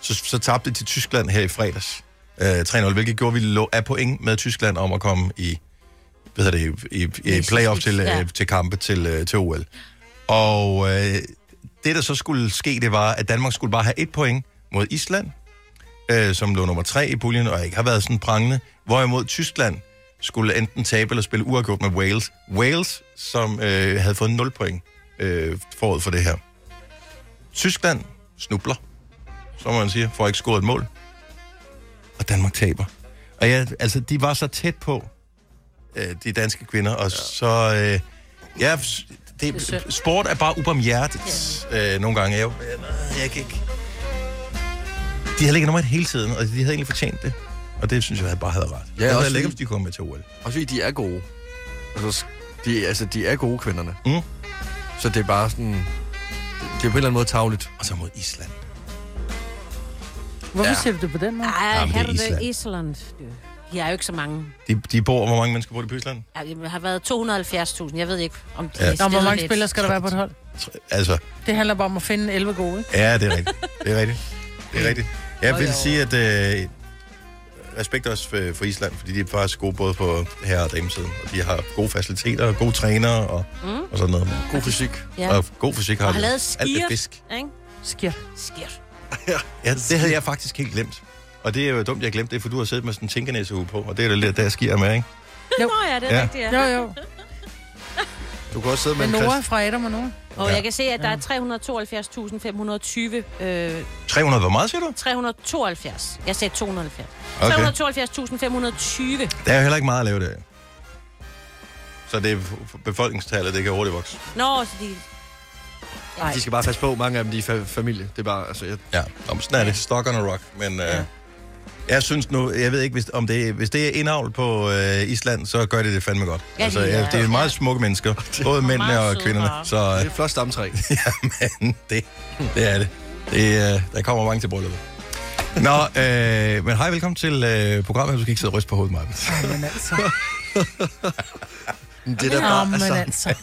A: Så, så tabte de til Tyskland her i fredags. Øh, 3-0, hvilket gjorde, at vi lå af point med Tyskland om at komme i, hvad hedder det, i, i, i playoff til,
D: Ja.
A: ja. til kampe til, øh, til OL. Og øh, det, der så skulle ske, det var, at Danmark skulle bare have et point mod Island, øh, som lå nummer tre i puljen, og ikke har været sådan prangende. Hvorimod Tyskland skulle enten tabe eller spille uafgjort med Wales. Wales, som øh, havde fået 0 point øh, forud for det her. Tyskland snubler, som man siger, får ikke scoret et mål. Og Danmark taber. Og ja, altså, de var så tæt på, øh, de danske kvinder, og ja. så... Øh, ja, det, det er
C: synd.
A: sport er bare ubarmhjertigt ja. øh, nogle gange. Jeg, jeg, jeg kan ikke... De havde ligget nummer et hele tiden, og de havde egentlig fortjent det. Og det synes jeg havde bare havde ret. Ja, det
B: også
A: havde
B: fordi-
A: lækkert, hvis de kom med til OL.
B: Også fordi de er gode. Altså, s- de, altså, de er gode kvinderne.
A: Mm.
B: Så det er bare sådan... Det, det er på en eller anden måde tavligt.
A: Og så mod Island.
C: Hvorfor
B: Ja.
C: ja. siger du det på den måde?
D: Ej,
A: Jamen, det er
D: her er det
A: Island.
D: Island. du. De er jo ikke så mange.
A: De, de bor, hvor mange mennesker bor de på Island?
D: Ej, Det har været 270.000. Jeg ved ikke, om de
A: Ja.
D: ja.
C: Nå, hvor mange spillere skal der være på et hold?
A: Tr- Altså,
C: Det handler bare om at finde 11 gode, ikke?
A: ja, det er rigtigt. Det er rigtigt. Det
D: Mm.
A: er rigtigt. Jeg vil sige, at øh, respekt også øh, for, for Island, fordi de er faktisk gode både på herre- og damesiden. Og de har gode faciliteter og gode trænere og, mm. og sådan noget.
B: God fysik.
D: Ja.
A: Og god fysik har
D: Og
A: de.
D: har lavet
A: Alt er
D: skier.
A: fisk.
D: Ikke?
C: Sker.
D: Skier.
A: Ja, det havde jeg faktisk helt glemt. Og det er jo dumt, jeg glemte det, for du har siddet med sådan en tænkenæsehue på, og det er det lidt, der sker med, ikke?
D: Nå ja, det er
A: Ja.
D: ja. rigtigt, ja.
C: Jo, jo.
B: Du kan også sidde med
C: Men
B: en
C: Nora
B: krist.
C: fra Adam og Nora.
D: Og
A: Ja.
D: jeg kan se, at der er 372.520... Øh,
A: 300, hvor meget siger du?
D: 372. Jeg sagde 270.
A: Okay.
D: 372.520.
A: Der er jo heller ikke meget at lave der. Så det er befolkningstallet, det kan hurtigt vokse.
D: Nå, så de...
B: De skal bare passe på. Mange af dem, de er fa- familie. Det er bare, altså, jeg,
A: Ja, om sådan er det. Stock on a rock. Men øh, jeg synes nu, jeg ved ikke, hvis, om det, hvis det er indavl på øh, Island, så gør det det fandme godt.
D: Ja,
A: altså,
D: de er-
A: ja, det er meget smukke mennesker, både mændene og
D: meget
A: kvinderne.
D: søde
A: Så øh,
B: det er et flot stamtræ.
A: Jamen, det, det er det. det øh, der kommer mange til brylluppet. Nå, øh, men hej, velkommen til øh, programmet. Du skal ikke sidde og ryste på hovedet, Maja.
C: Men altså.
B: Men Det er da bare,
C: Jamen
B: altså,
C: altså.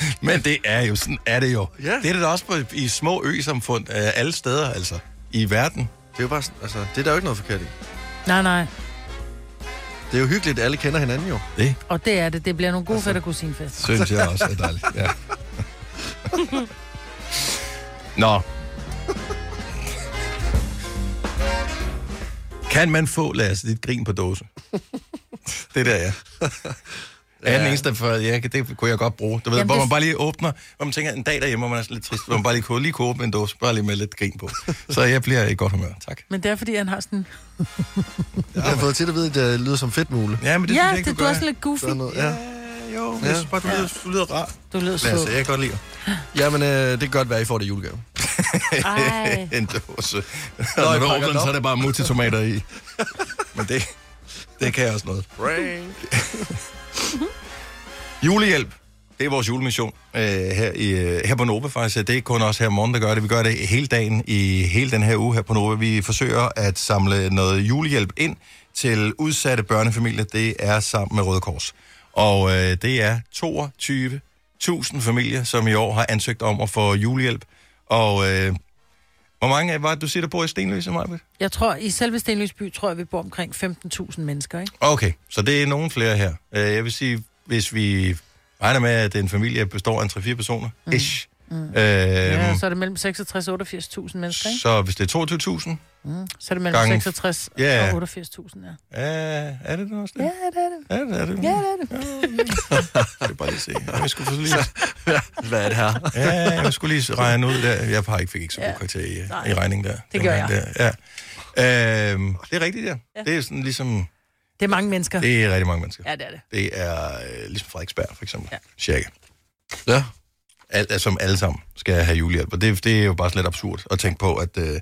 A: men, men det er jo, sådan er det jo.
B: Ja.
A: Det er det da også på, i små øsamfund, øh, alle steder altså, i verden.
B: det er jo bare, sådan- altså, det er der jo ikke noget forkert i.
C: Nej, nej.
B: Det er jo hyggeligt, at alle kender hinanden jo.
A: Det
C: Og det er det. Det bliver nogle
A: Altså.
C: gode fætter kusinfest.
A: synes jeg også er dejligt. Ja. Nå. Kan man få, Lasse, dit grin på dåse? Det der, ja. Er jeg den eneste, for ja, det kunne jeg godt bruge. Du ved,
C: Jamen,
A: hvor
C: det-
A: man bare lige åbner, hvor man tænker, en dag derhjemme, hvor man er sådan lidt trist, hvor man bare lige kunne, lige kunne åbne en dåse, bare lige med lidt grin på. Så jeg bliver i godt humør, tak.
C: Men det er, fordi han har sådan...
B: Jeg har fået til at vide, at det lyder som fedt mule.
A: Ja, men det
C: ja,
A: synes jeg ikke,
C: det, du
A: gør.
C: er også lidt goofy.
B: Sådan noget, ja.
A: Ja, jo, men jeg
B: Ja. altså,
A: synes bare, du lyder, du lyder rar.
C: Du lyder sød.
A: Lasse, jeg kan godt lide dig.
B: Jamen, øh, det kan godt være, at I får det i julegave.
D: Ej.
A: en dåse.
B: Nå,
A: Når
B: jeg
A: du åbner
B: pakker den
A: den,
B: op.
A: så er det bare multitomater i. Men det, det kan jeg også noget. Julehjælp. Det er vores julemission øh, her, i, øh, her på Nova faktisk. Det er ikke kun os her om morgenen, der gør det. Vi gør det hele dagen i hele den her uge her på Nova. Vi forsøger at samle noget julehjælp ind til udsatte børnefamilier. Det er sammen med Røde Kors. Og øh, det er 22.000 familier, som i år har ansøgt om at få julehjælp. Og øh, hvor mange af- var det, du siger, der bor i Stenløse, Majbet?
C: Jeg tror, i selve Stenløs by, tror jeg, vi bor omkring 15.000 mennesker, ikke?
A: Okay, så det er nogen flere her. Øh, Jeg vil sige, hvis vi regner med, at en familie består af 3-4 personer, mm. ish, mm. Øhm,
C: Ja,
A: ja,
C: så er det mellem 66 og 88.000 mennesker, ikke? Mm.
A: så hvis det er
C: Så er
A: 22.000,
C: det mellem
A: Gange-
C: 66
A: Ja, ja.
C: og 88.000, ja.
A: øh, er det det også det?
C: Ja, det er det.
A: Er det er det?
C: Ja,
A: Ja.
C: det er det.
A: Jeg vil bare lige se. Jeg skulle, lige,
B: Hvad er det her?
A: ja, jeg skulle lige regne ud der. Jeg har ikke, fik ikke så god karakter i, i regningen der.
C: Det
A: dengang
C: gør
A: Der. Ja. Øhm, det er rigtigt, ja. ja. Det er sådan ligesom...
C: Det er mange mennesker.
A: Det er rigtig mange mennesker.
C: Ja, det er det.
A: Det er øh, ligesom Frederiksberg, for eksempel. Ja.
C: Ja.
A: Cirka.
B: Ja.
A: Al, altså, som alle sammen skal have julehjælp. Og det, det er jo bare slet absurd at tænke på, at, øh,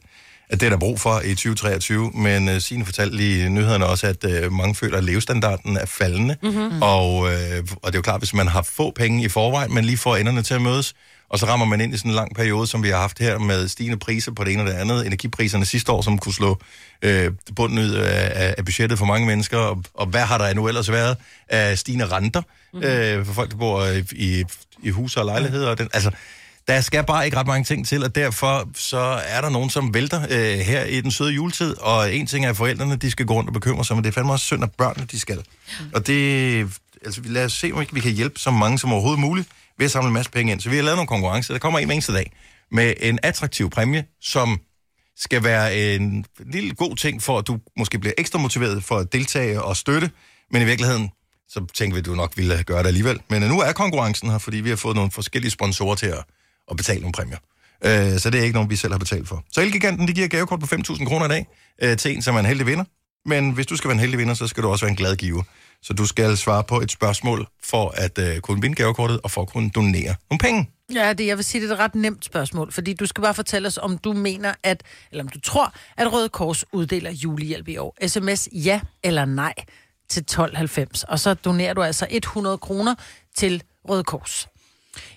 A: at det er der brug for i 2023. Men øh, Signe fortalte lige i nyhederne også, at øh, mange føler, at levestandarden er faldende. Mm-hmm. Og, øh, og det er jo klart, hvis man har få penge i forvejen, men lige får enderne til at mødes, og så rammer man ind i sådan en lang periode, som vi har haft her, med stigende priser på det ene og det andet. Energipriserne sidste år, som kunne slå øh, bunden ud af, af- af budgettet for mange mennesker. Og, og hvad har der nu ellers været af stigende renter mm-hmm. øh, for folk, der bor øh, i, i huse og lejligheder? Og den, altså, der skal bare ikke ret mange ting til, og derfor så er der nogen, som vælter øh, her i den søde juletid. Og en ting er, at forældrene de skal gå rundt og bekymre sig, men det er fandme også synd, at børnene de skal. Og det, altså, vi- lad os se, om ikke vi kan hjælpe så mange som overhovedet muligt ved at samle en masse penge ind. Så vi har lavet nogle konkurrencer. Der kommer en hver eneste dag med en attraktiv præmie, som skal være en lille god ting for, at du måske bliver ekstra motiveret for at deltage og støtte, men i virkeligheden, så tænker vi, at du nok ville gøre det alligevel. Men øh, nu er konkurrencen her, fordi vi har fået nogle forskellige sponsorer til at, at betale nogle præmier. Øh, så det er ikke nogen, vi selv har betalt for. Så Elgiganten, de giver et gavekort på 5.000 kroner i dag øh, til en, som er en heldig vinder. Men hvis du skal være en heldig vinder, så skal du også være en glad giver. Så du skal svare på et spørgsmål for at øh, kunne vinde gavekortet og for at kunne donere nogle penge.
C: Ja, det, jeg vil sige, det er et ret nemt spørgsmål, fordi du skal bare fortælle os, om du mener, at, eller om du tror, at Røde Kors uddeler julehjælp i år. SMS ja eller nej til 1290, og så donerer du altså 100 kroner til Røde Kors.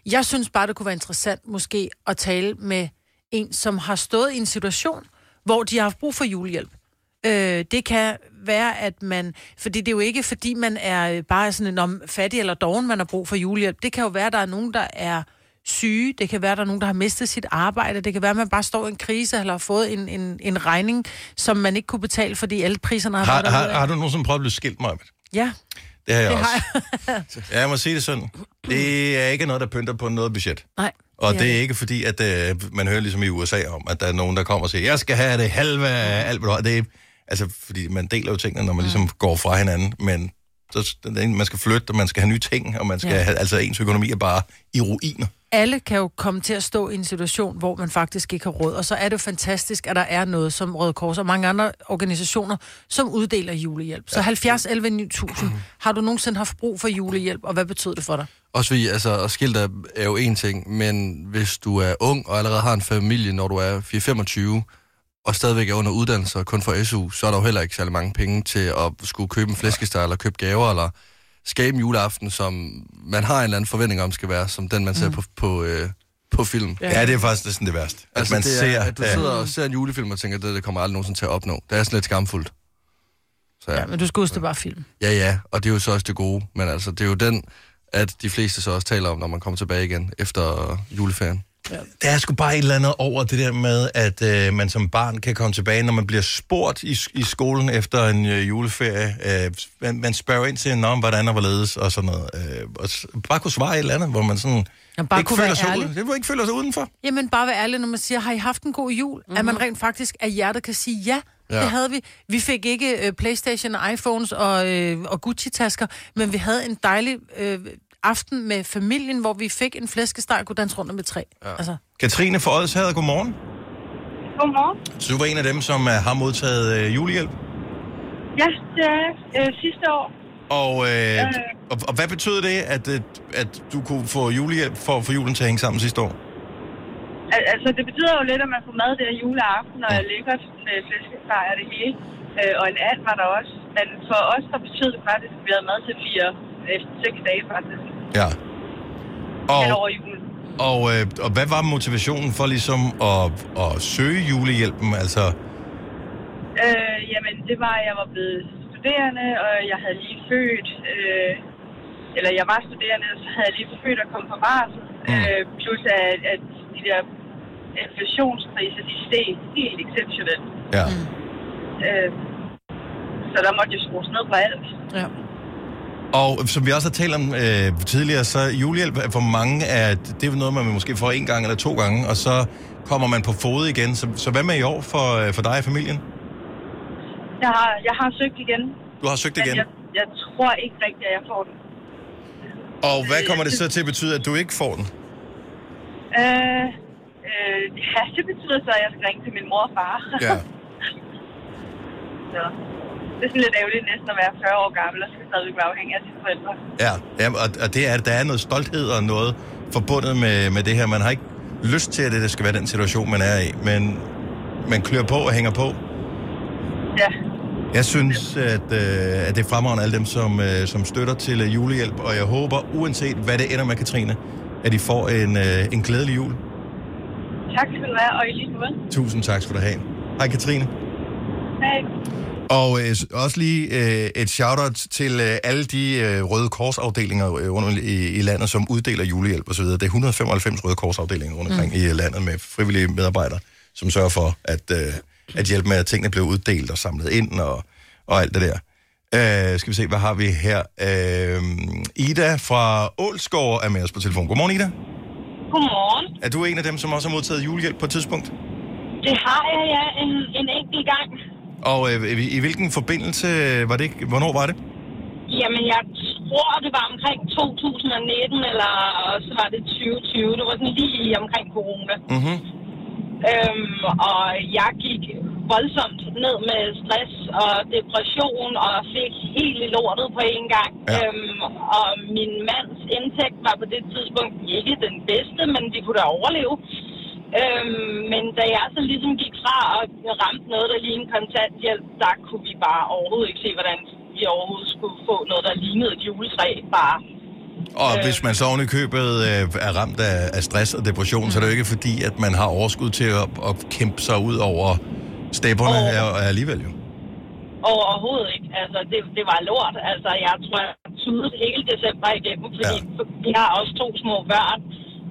C: Jeg synes bare, det kunne være interessant måske at tale med en, som har stået i en situation, hvor de har haft brug for julehjælp. Øh, det kan være, at man... Fordi det er jo ikke, fordi man er øh, bare sådan en om fattig eller doven, man har brug for julehjælp. Det kan jo være, at der er nogen, der er syge. Det kan være, at der er nogen, der har mistet sit arbejde. Det kan være, at man bare står i en krise eller har fået en, en, en regning, som man ikke kunne betale, fordi alle priserne har,
A: Har,
C: været
A: har,
C: derudad.
A: har du nogensinde prøvet at blive skilt, Maja?
C: Ja,
A: Det har jeg
C: det
A: også.
C: har jeg.
A: Ja, jeg må sige det sådan. Det er ikke noget, der pynter på noget budget.
C: Nej.
A: Og det er ikke fordi, at øh, man hører ligesom i USA om, at der er nogen, der kommer og siger, jeg skal have det halve af alt, hvad du har. Det er, altså, fordi man deler jo tingene, når man ligesom går fra hinanden, men så, man skal flytte, og man skal have nye ting, og man skal
C: Ja.
A: ja. have, altså ens økonomi er bare i ruiner.
C: alle kan jo komme til at stå i en situation, hvor man faktisk ikke har råd. Og så er det jo fantastisk, at der er noget som Røde Kors og mange andre organisationer, som uddeler julehjælp. Så 70 11 9000. Har du nogensinde haft brug for julehjælp, og hvad betød det for dig?
B: Også fordi, altså, at skilt er, er jo en ting, men hvis du er ung og allerede har en familie, når du er 4-25, og stadigvæk er under uddannelse og kun får SU, så er der jo heller ikke særlig mange penge til at skulle købe en flæskesteg, eller købe gaver, eller skabe en juleaften, som man har en eller anden forventning om skal være, som den, man ser mm. på, på, øh, på film.
A: Ja, ja det er faktisk næsten det værste. At altså, man
B: det er,
A: ser,
B: at du
A: øh,
B: sidder og ser en julefilm og tænker, det, det kommer jeg aldrig nogensinde til at opnå. Det er sådan lidt skamfuldt. Så ja.
C: Men du skal huske, det bare film.
B: Ja, ja, og det er jo så også det gode, men altså, det er jo den, at de fleste så også taler om, når man kommer tilbage igen efter juleferien.
A: der er sgu bare et eller andet over det der med, at øh, man som barn kan komme tilbage, når man bliver spurgt i, i skolen efter en øh, juleferie. Øh, man, man spørger ind til, om hvordan og hvorledes og sådan noget. Øh, og s- bare kunne svare et eller andet, hvor man sådan...
C: Jamen, bare
A: ikke
C: kunne
A: føler
C: være
A: sig
C: ærlig.
A: Ud, det, hvor ikke føler sig udenfor.
C: Jamen bare være ærlig, når man siger, har I haft en god jul? Mm-hmm. At man rent faktisk af hjertet kan sige, ja, ja,
B: Ja.
C: det havde vi. Vi fik ikke øh, Playstation og iPhones og, øh, og Gucci-tasker, men vi havde en dejlig øh, aften med familien, hvor vi fik en flæskesteg og kunne danse rundt om et træ. Ja. Altså,
A: Katrine fra Odshavet, godmorgen.
L: Godmorgen.
A: Så du var en af dem, som øh, har modtaget øh, julehjælp.
L: Ja, det er jeg. øh, sidste år.
A: Og, øh,
L: Ja.
A: og, og hvad betød det, at, øh, at du kunne få julehjælp for at få julen til at hænge sammen sidste år?
L: Al- altså, det betyder jo lidt, at man får mad der juleaften, og jeg ligger med flæskesteg og det hele. Øh, og en and var der også. Men for os, der betød det faktisk, at vi havde mad til fire, øh, seks dage faktisk,
A: Ja. Og,
L: hen over julen.
A: Og, øh, og hvad var motivationen for ligesom at, at søge julehjælpen? Altså,
L: Øh, jamen, det var, at jeg var blevet studerende, og jeg havde lige født. Øh, eller jeg var studerende, og så havde jeg lige født og kom på barsel. Mm. Øh, plus at, at de der inflationspriser, de steg helt exceptionelt.
A: ja.
L: Øh, så der måtte jeg skrues ned på alt.
C: Ja.
A: Og som vi også har talt om øh, tidligere, så julehjælp er for mange, at det er noget, man måske får en gang eller to gange, og så kommer man på fod igen. Så, så hvad med i år for, øh, for dig og familien?
L: Jeg har, jeg har søgt igen,
A: Du har søgt
L: men
A: igen.
L: jeg, jeg tror ikke rigtigt, at jeg får den.
A: Og hvad kommer det så til at betyde, at du ikke får den?
L: Øh, øh, ja, det betyder så, at jeg skal ringe til min mor og far.
A: Ja.
L: så. Det er sådan lidt ærgerligt næsten at være 40 år gammel, og skal stadigvæk være afhængig af sine forældre.
A: Ja, ja og, og det er, der er noget stolthed og noget forbundet med, med det her. Man har ikke lyst til, at det skal være den situation, man er i, men man klør på og hænger på.
L: Ja,
A: Jeg synes, at, øh, at det er fremragende alle dem, som, øh, som støtter til øh, julehjælp, og jeg håber, uanset hvad det ender med, Katrine, at I får en, øh, en glædelig jul.
L: tak skal du have, og i lige måde.
A: Tusind tak skal du have. Hej Katrine.
L: Hej.
A: Og øh, s- også lige øh, et shout-out til øh, alle de øh, Røde Kors-afdelinger øh, rundt i, i landet, som uddeler julehjælp osv. Det er 195 Røde Kors-afdelinger rundt omkring mm. i øh, landet med frivillige medarbejdere, som sørger for at, øh, at hjælpe med, at tingene bliver uddelt og samlet ind og, og alt det der. Øh, skal vi se, hvad har vi her? Øh, Ida fra Ålsgård er med os på telefon. Godmorgen, Ida.
L: Godmorgen.
A: Er du en af dem, som også har modtaget julehjælp på et tidspunkt?
L: Det har jeg, ja, en, en enkelt gang.
A: Og øh, i, i hvilken forbindelse øh, var det? ikke- Hvornår var det?
L: Jamen, jeg tror, det var omkring 2019, eller så var det 2020. Det var sådan lige omkring corona.
A: Mm-hmm.
L: Øhm, og jeg gik voldsomt ned med stress og depression og fik helt i lortet på en gang. Ja. Øhm, og min mands indtægt var på det tidspunkt ikke den bedste, men vi kunne da overleve. Øhm, men da jeg så ligesom gik fra og ramte noget, der lignede kontanthjælp, der kunne vi bare overhovedet ikke se, hvordan vi overhovedet skulle få noget, der lignede et juletræ bare.
A: Og øh. hvis man så oven i købet øh, er ramt af, af stress og depression, mm. så er det jo ikke fordi, at man har overskud til at, at kæmpe sig ud over stepperne oh. alligevel jo.
L: Overhovedet ikke. Altså, det, det var lort. Altså, jeg tror, jeg tudede hele december igennem, fordi ja. vi har også to små børn.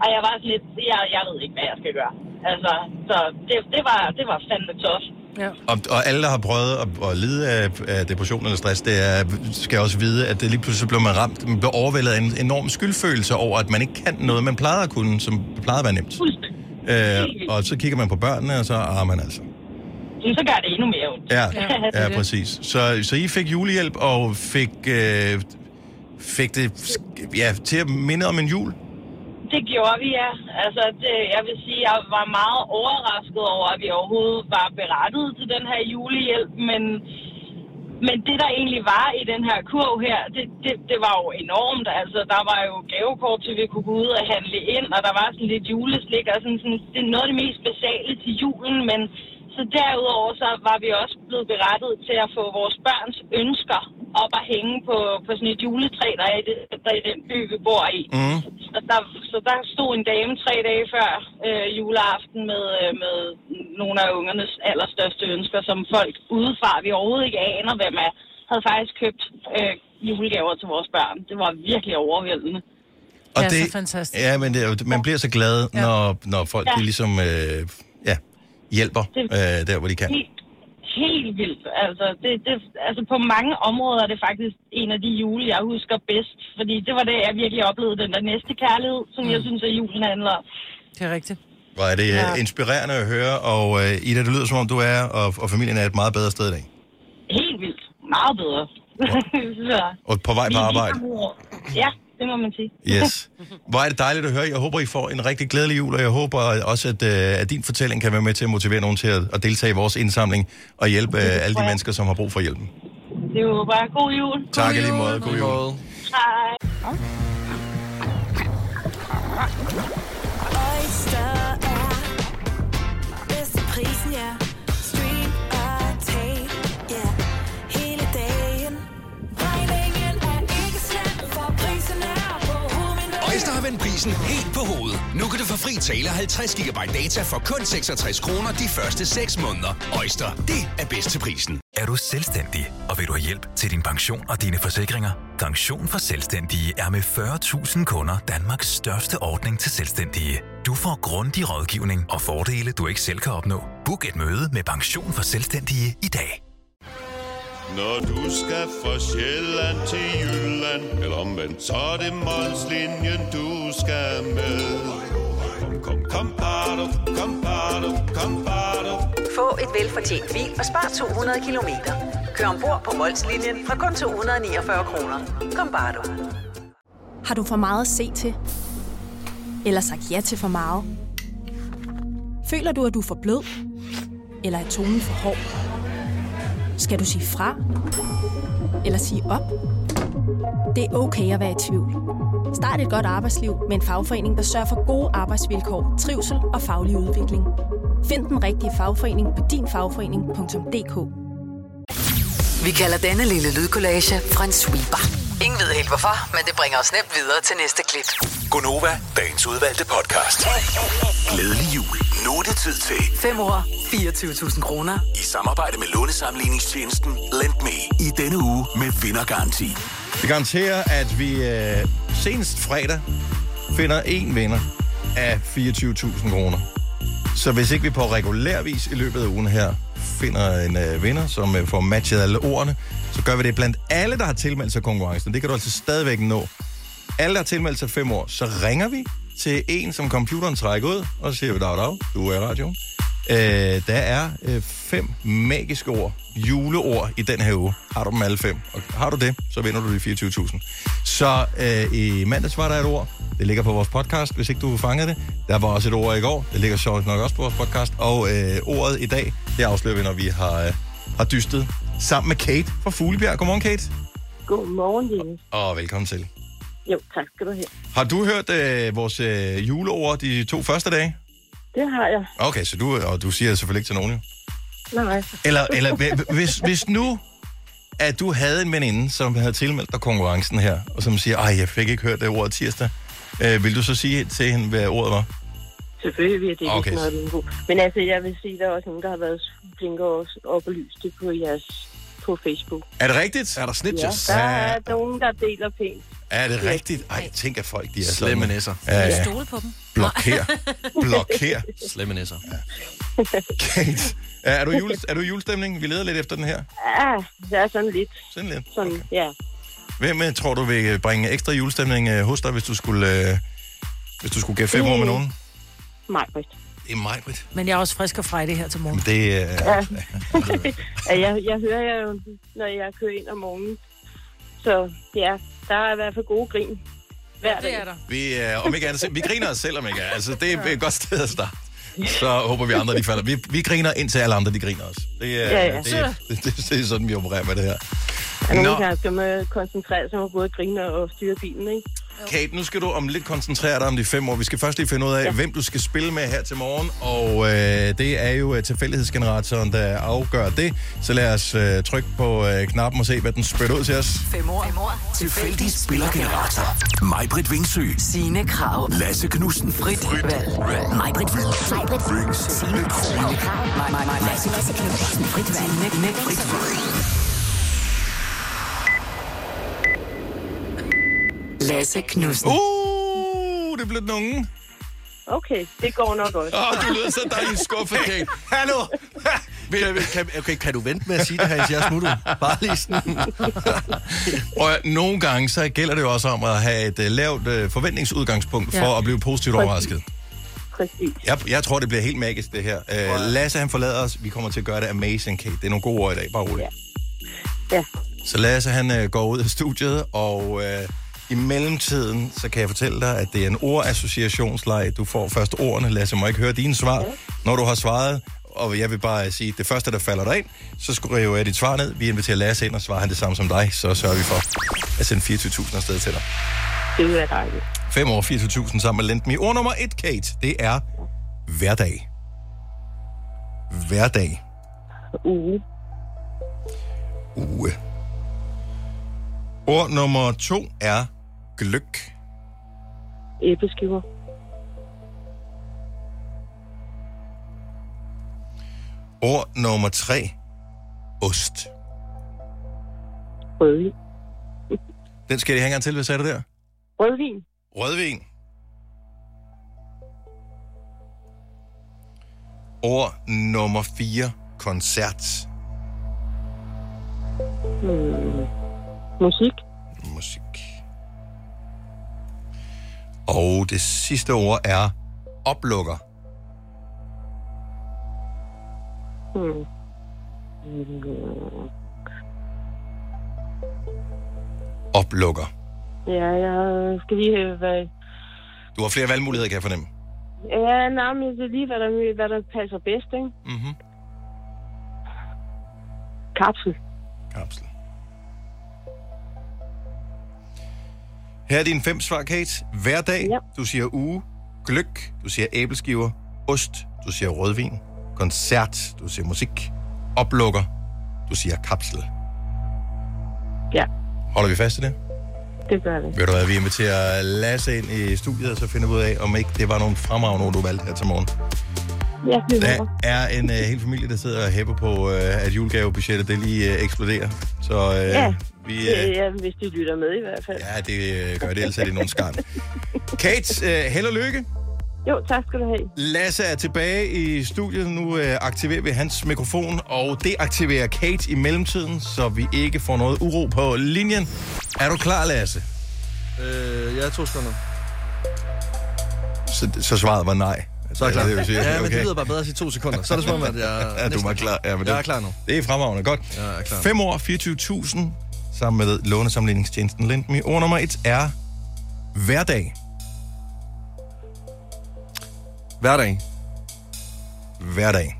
L: Og jeg var sådan lidt, jeg, jeg ved ikke, hvad jeg skal gøre. Altså, så det, det, var, det var fandme tøft.
E: Ja.
A: Og, og alle, der har prøvet at, at lide af, af depression eller stress, det er, skal også vide, at det lige pludselig bliver man ramt, man bliver overvældet af en enorm skyldfølelse over, at man ikke kan noget, man plejede at kunne, som plejede at være nemt. Øh, og så kigger man på børnene, og så ah, man altså.
L: Men så gør det endnu mere ondt.
A: Ja,
L: det er
A: ja
L: det.
A: præcis. Så, så I fik julehjælp og fik, øh, fik det sk- ja, til at minde om en jul?
L: Det gjorde vi, ja. Altså, det, jeg vil sige, jeg var meget overrasket over, at vi overhovedet var berettet til den her julehjælp, men, men det, der egentlig var i den her kurv her, det, det, det var jo enormt. Altså, der var jo gavekort til, vi kunne gå ud og handle ind, og der var sådan lidt juleslik, og sådan, sådan, det er noget af det mest basale til julen, men så derudover så var vi også blevet berettet til at få vores børns ønsker op at hænge på, på sådan et juletræ, der er i, det, der er i den by, vi bor i.
A: Mm.
L: Så der, så der stod en dame tre dage før øh, juleaften med, øh, med nogle af ungernes allerstørste ønsker, som folk udefra, vi overhovedet ikke aner, hvem er, havde faktisk købt øh, julegaver til vores børn. Det var virkelig overvældende.
A: Og
L: Ja,
A: det,
L: så fantastisk.
A: Ja, men det, er jo- man bliver så glad, ja. når, når folk
L: Ja.
A: ja. ligesom øh, ja, hjælper øh, der, hvor de kan.
L: Helt, helt vildt. Altså, det, det, altså, på mange områder er det faktisk en af de jule, jeg husker bedst, fordi det var det, jeg virkelig oplevede den der næste kærlighed, som mm. jeg synes, at julen handler om.
E: Det er rigtigt.
A: Hvor er det ja.
L: Ja.
A: inspirerende at høre, og øh, Ida, det lyder som om du er, og, og familien er et meget bedre sted i dag.
L: Helt vildt. Meget bedre. så,
A: Og på vej på arbejde.
L: Ja, det må man sige.
A: Yes. Hvor er det dejligt at høre. Jeg håber, I får en rigtig glædelig jul, og jeg håber også, at, øh, at din fortælling kan være med til at motivere nogen til at, at deltage i vores indsamling og hjælpe øh, alle de mennesker, som har brug for hjælpen.
L: Det var bare god jul.
A: Tak i lige måde. God jul.
L: Hej.
J: Oyster er bedst til prisen, ja. Stream og tag, ja. Hele dagen. Regningen er ikke slem, for prisen er på hovedet.
M: Øjster har vendt prisen helt på hovedet. Nu kan du få fri tale 50 GB data for kun 66 kroner de første 6 måneder. Øjster, det er bedst til prisen.
N: Er du selvstændig, og vil du have hjælp til din pension og dine forsikringer? Pension for Selvstændige er med 40.000 kunder Danmarks største ordning til selvstændige. Du får grundig rådgivning og fordele, du ikke selv kan opnå. Book et møde med Pension for Selvstændige i dag.
O: Når du skal fra Sjælland til Jylland, eller omvendt, så er det Molslinjen, du skal med. Kom, kom, kom, bado, kom, bado, kom, bado.
P: Få et velfortjent bil og spar 200 kilometer. Kør ombord på Molslinjen fra kun 249 kroner. Kom bare du.
Q: Har du for meget at se til? Eller sagt ja til for meget? Føler du, at du er for blød? Eller er tonen for hård? Skal du sige fra? Eller sige op? Det er okay at være i tvivl. Start et godt arbejdsliv med en fagforening, der sørger for gode arbejdsvilkår, trivsel og faglig udvikling. Find den rigtige fagforening på dinfagforening.dk.
G: Vi kalder denne lille lydkollage en sweeper. Ingen ved helt hvorfor, men det bringer os nemt videre til næste klip.
F: Gonova, dagens udvalgte podcast. Glædelig jul. Nu er det tid til
G: 5 år, 24.000 kroner.
F: i samarbejde med lånesamligningstjenesten LendMe i denne uge med vindergaranti.
A: Det garanterer, at vi øh, senest fredag finder en vinder af 24.000 kroner. Så hvis ikke vi på regulær vis i løbet af ugen her finder en øh, vinder, som øh, får matchet alle ordene, så gør vi det blandt alle, der har tilmeldt sig konkurrencen. Det kan du altså stadigvæk nå. Alle, der har tilmeldt sig fem år, så ringer vi til en, som computeren trækker ud, og så siger vi, dag, dag, du er i radioen. Øh, der er øh, fem magiske ord, juleord i den her uge. Har du dem alle fem? Og har du det, så vinder du de 24.000. Så øh, i mandags var der et ord. Det ligger på vores podcast, hvis ikke du fangede det. Der var også et ord i går. Det ligger sjovt nok også på vores podcast. Og øh, ordet i dag, det afslører vi, når vi har, øh, har dystet sammen med Kate fra Fuglebjerg. Godmorgen, Kate.
R: Godmorgen, Dennis.
A: Og velkommen til.
R: Jo, tak skal du have.
A: Har du hørt øh, vores øh, juleord de to første dage?
R: Det har jeg.
A: Okay, så du, og du siger det selvfølgelig ikke til nogen, jo.
R: Nej.
A: Eller, eller hv- hvis, hvis nu, at du havde en veninde, som havde tilmeldt dig konkurrencen her, og som siger, ej, jeg fik ikke hørt det ord tirsdag, øh, vil du så sige til hende, hvad ordet var?
R: Selvfølgelig er det ikke
A: Okay.
R: okay. noget bingo. Men altså, jeg vil sige, der er også nogen, der har været flinke og oplyst det på jeres på Facebook.
A: Er det rigtigt? Er der
R: Ja, der
A: Er,
R: er nogen, der deler pænt.
A: er det rigtigt? Ej, tænk at folk, de er
B: Slemme
A: sådan.
B: nisser.
A: Ja, ja.
R: Stole på dem.
A: Blokér. Blokér.
B: Slemme nisser.
A: Kate, er er du, i jule, er du i julestemning? Vi leder lidt efter den her.
R: Ja, det er sådan lidt.
A: Sådan lidt?
R: Sådan, okay. ja.
A: Hvem øh, tror du vil bringe ekstra julestemning øh, hos dig, hvis du skulle, øh, hvis du skulle gætte fem år
R: Mm.
A: med nogen?
R: Majbrit.
A: Det er mig, Britt.
C: Men jeg er også frisk og frejdig her til morgen.
A: Det er... Øh,
R: Ja. ja, jeg, jeg hører jer jo, når jeg kører ind om morgenen. Så ja, der er i hvert fald gode grin. Hver det er der.
A: Vi, øh, om ikke andet, selv- vi griner os selv, om ikke andet. Altså, det er et godt sted at starte. Så håber vi, andre de falder. Vi, vi griner indtil alle andre, de griner os. Det, er,
R: Ja, ja.
A: Det, det, det, det, er sådan, vi opererer med det her.
R: Og
A: Nå.
R: nogle gange Altså, skal man koncentrere sig om at både grine og styre bilen, ikke?
A: Kate, nu skal du om lidt koncentrere dig om de fem år. Vi skal først lige finde ud af, ja. hvem du skal spille med her til morgen. Og øh, det er jo øh, tilfældighedsgeneratoren, der afgør det. Så lad os øh, trykke på øh, knappen og se, hvad den spytter ud til os.
G: Fem år. Fem år. Tilfældig
F: Spillergenerator. Majbrit Vingsø.
G: Signe Krav.
F: Lasse Knudsen.
G: Frit valg. Majbrit Majbrit Signe Krav. Maj- Maj- Maj- Lasse Lasse Knudsen. Frit valg. Nik, nik, frit Lasse Knudsen.
A: Uh, det blev den unge.
R: Okay, det går nok godt.
A: Åh, du lyder så dejligt skuffet, Kate. Hallo!
B: Vil- Kan, okay, kan du vente med at sige det her, hvis jeg smutter? Bare lige sådan.
A: Og nogle gange, så gælder det jo også om at have et uh, lavt uh, forventningsudgangspunkt for
R: Ja.
A: at blive positivt
R: Præcis.
A: overrasket.
R: Præcis.
A: Jeg, jeg tror, det bliver helt magisk, det her. Uh, Lasse, han forlader os. Vi kommer til at gøre det amazing, Kate. Det er nogle gode ord i dag, bare roligt.
R: Ja.
A: Så Lasse, han uh, går ud af studiet, og uh, i mellemtiden, så kan jeg fortælle dig, at det er en ordassociationsleg. Du får først ordene. Lasse må ikke høre dine svar. Når du har svaret, og jeg vil bare sige, det første, der falder dig ind, så skriver jeg dit svar ned. Vi inviterer Lasse ind, og svarer han det samme som dig, så sørger vi for at sende 24.000 afsted til dig.
R: Det vil være dejligt.
A: 5 år 24.000 sammen med Lendme. Ord nummer 1, Kate, det er hverdag. Hverdag.
R: Uge.
A: Uge. Ord nummer 2 er gløk.
R: Æbleskiver.
A: Ord nummer 3, ost.
R: Rødvin.
A: Den skal jeg lige hænge til, hvad sagde du der?
R: Rødvin.
A: Rødvin. Ord nummer 4, koncert.
R: Hmm. Musik.
A: Musik. Og det sidste ord er oplukker.
R: Hmm. Hmm.
A: Oplukker.
R: Ja, jeg skal lige have, hvad...
A: Du har flere valgmuligheder, kan jeg fornemme.
R: Ja, nej, men det er lige, hvad der, hvad der passer bedst, ikke?
A: Mhm.
R: Kapsel.
A: Kapsel. Her er dine fem svar, Kate. Hver dag, ja. du siger uge, gløk, du siger æbleskiver, ost, du siger rødvin, koncert, du siger musik, oplukker, du siger kapsel.
R: Ja.
A: Holder vi fast i det?
R: Det gør det.
A: Ved du hvad, vi inviterer Lasse ind i studiet, og så finder vi ud af, om ikke det var nogle fremragende ord, du valgte her til morgen.
R: Ja, det
A: Der
R: håber.
A: er en øh, hel familie, der sidder og hæpper på, øh, at julegavebudgettet det lige øh, eksploderer. Så øh,
R: Ja.
A: vi, øh,
R: Ja, ja, hvis de lytter med i hvert fald.
A: ja, det øh, gør det, ellers er det nogen skarn. Kate, øh, held og lykke.
R: Jo, tak skal du have.
A: Lasse er tilbage i studiet. Nu øh, aktiverer vi hans mikrofon, og det aktiverer Kate i mellemtiden, så vi ikke får noget uro på linjen. Er du klar, Lasse?
B: Øh, jeg er to sekunder.
A: Så, så svaret var nej.
B: Så er jeg klar.
A: det vil sige,
B: ja, men
A: okay.
B: det lyder bare bedre at sige to sekunder. Så er det som om, at jeg...
A: Ja, du er meget klar. Ja, men
B: Jeg er klar nu.
A: Det er fremragende. Godt.
B: Jeg er klar.
A: 5 år, 24.000, sammen med lånesamligningstjenesten Lendme. Ord nummer et er hverdag.
B: Hverdag.
A: Hverdag.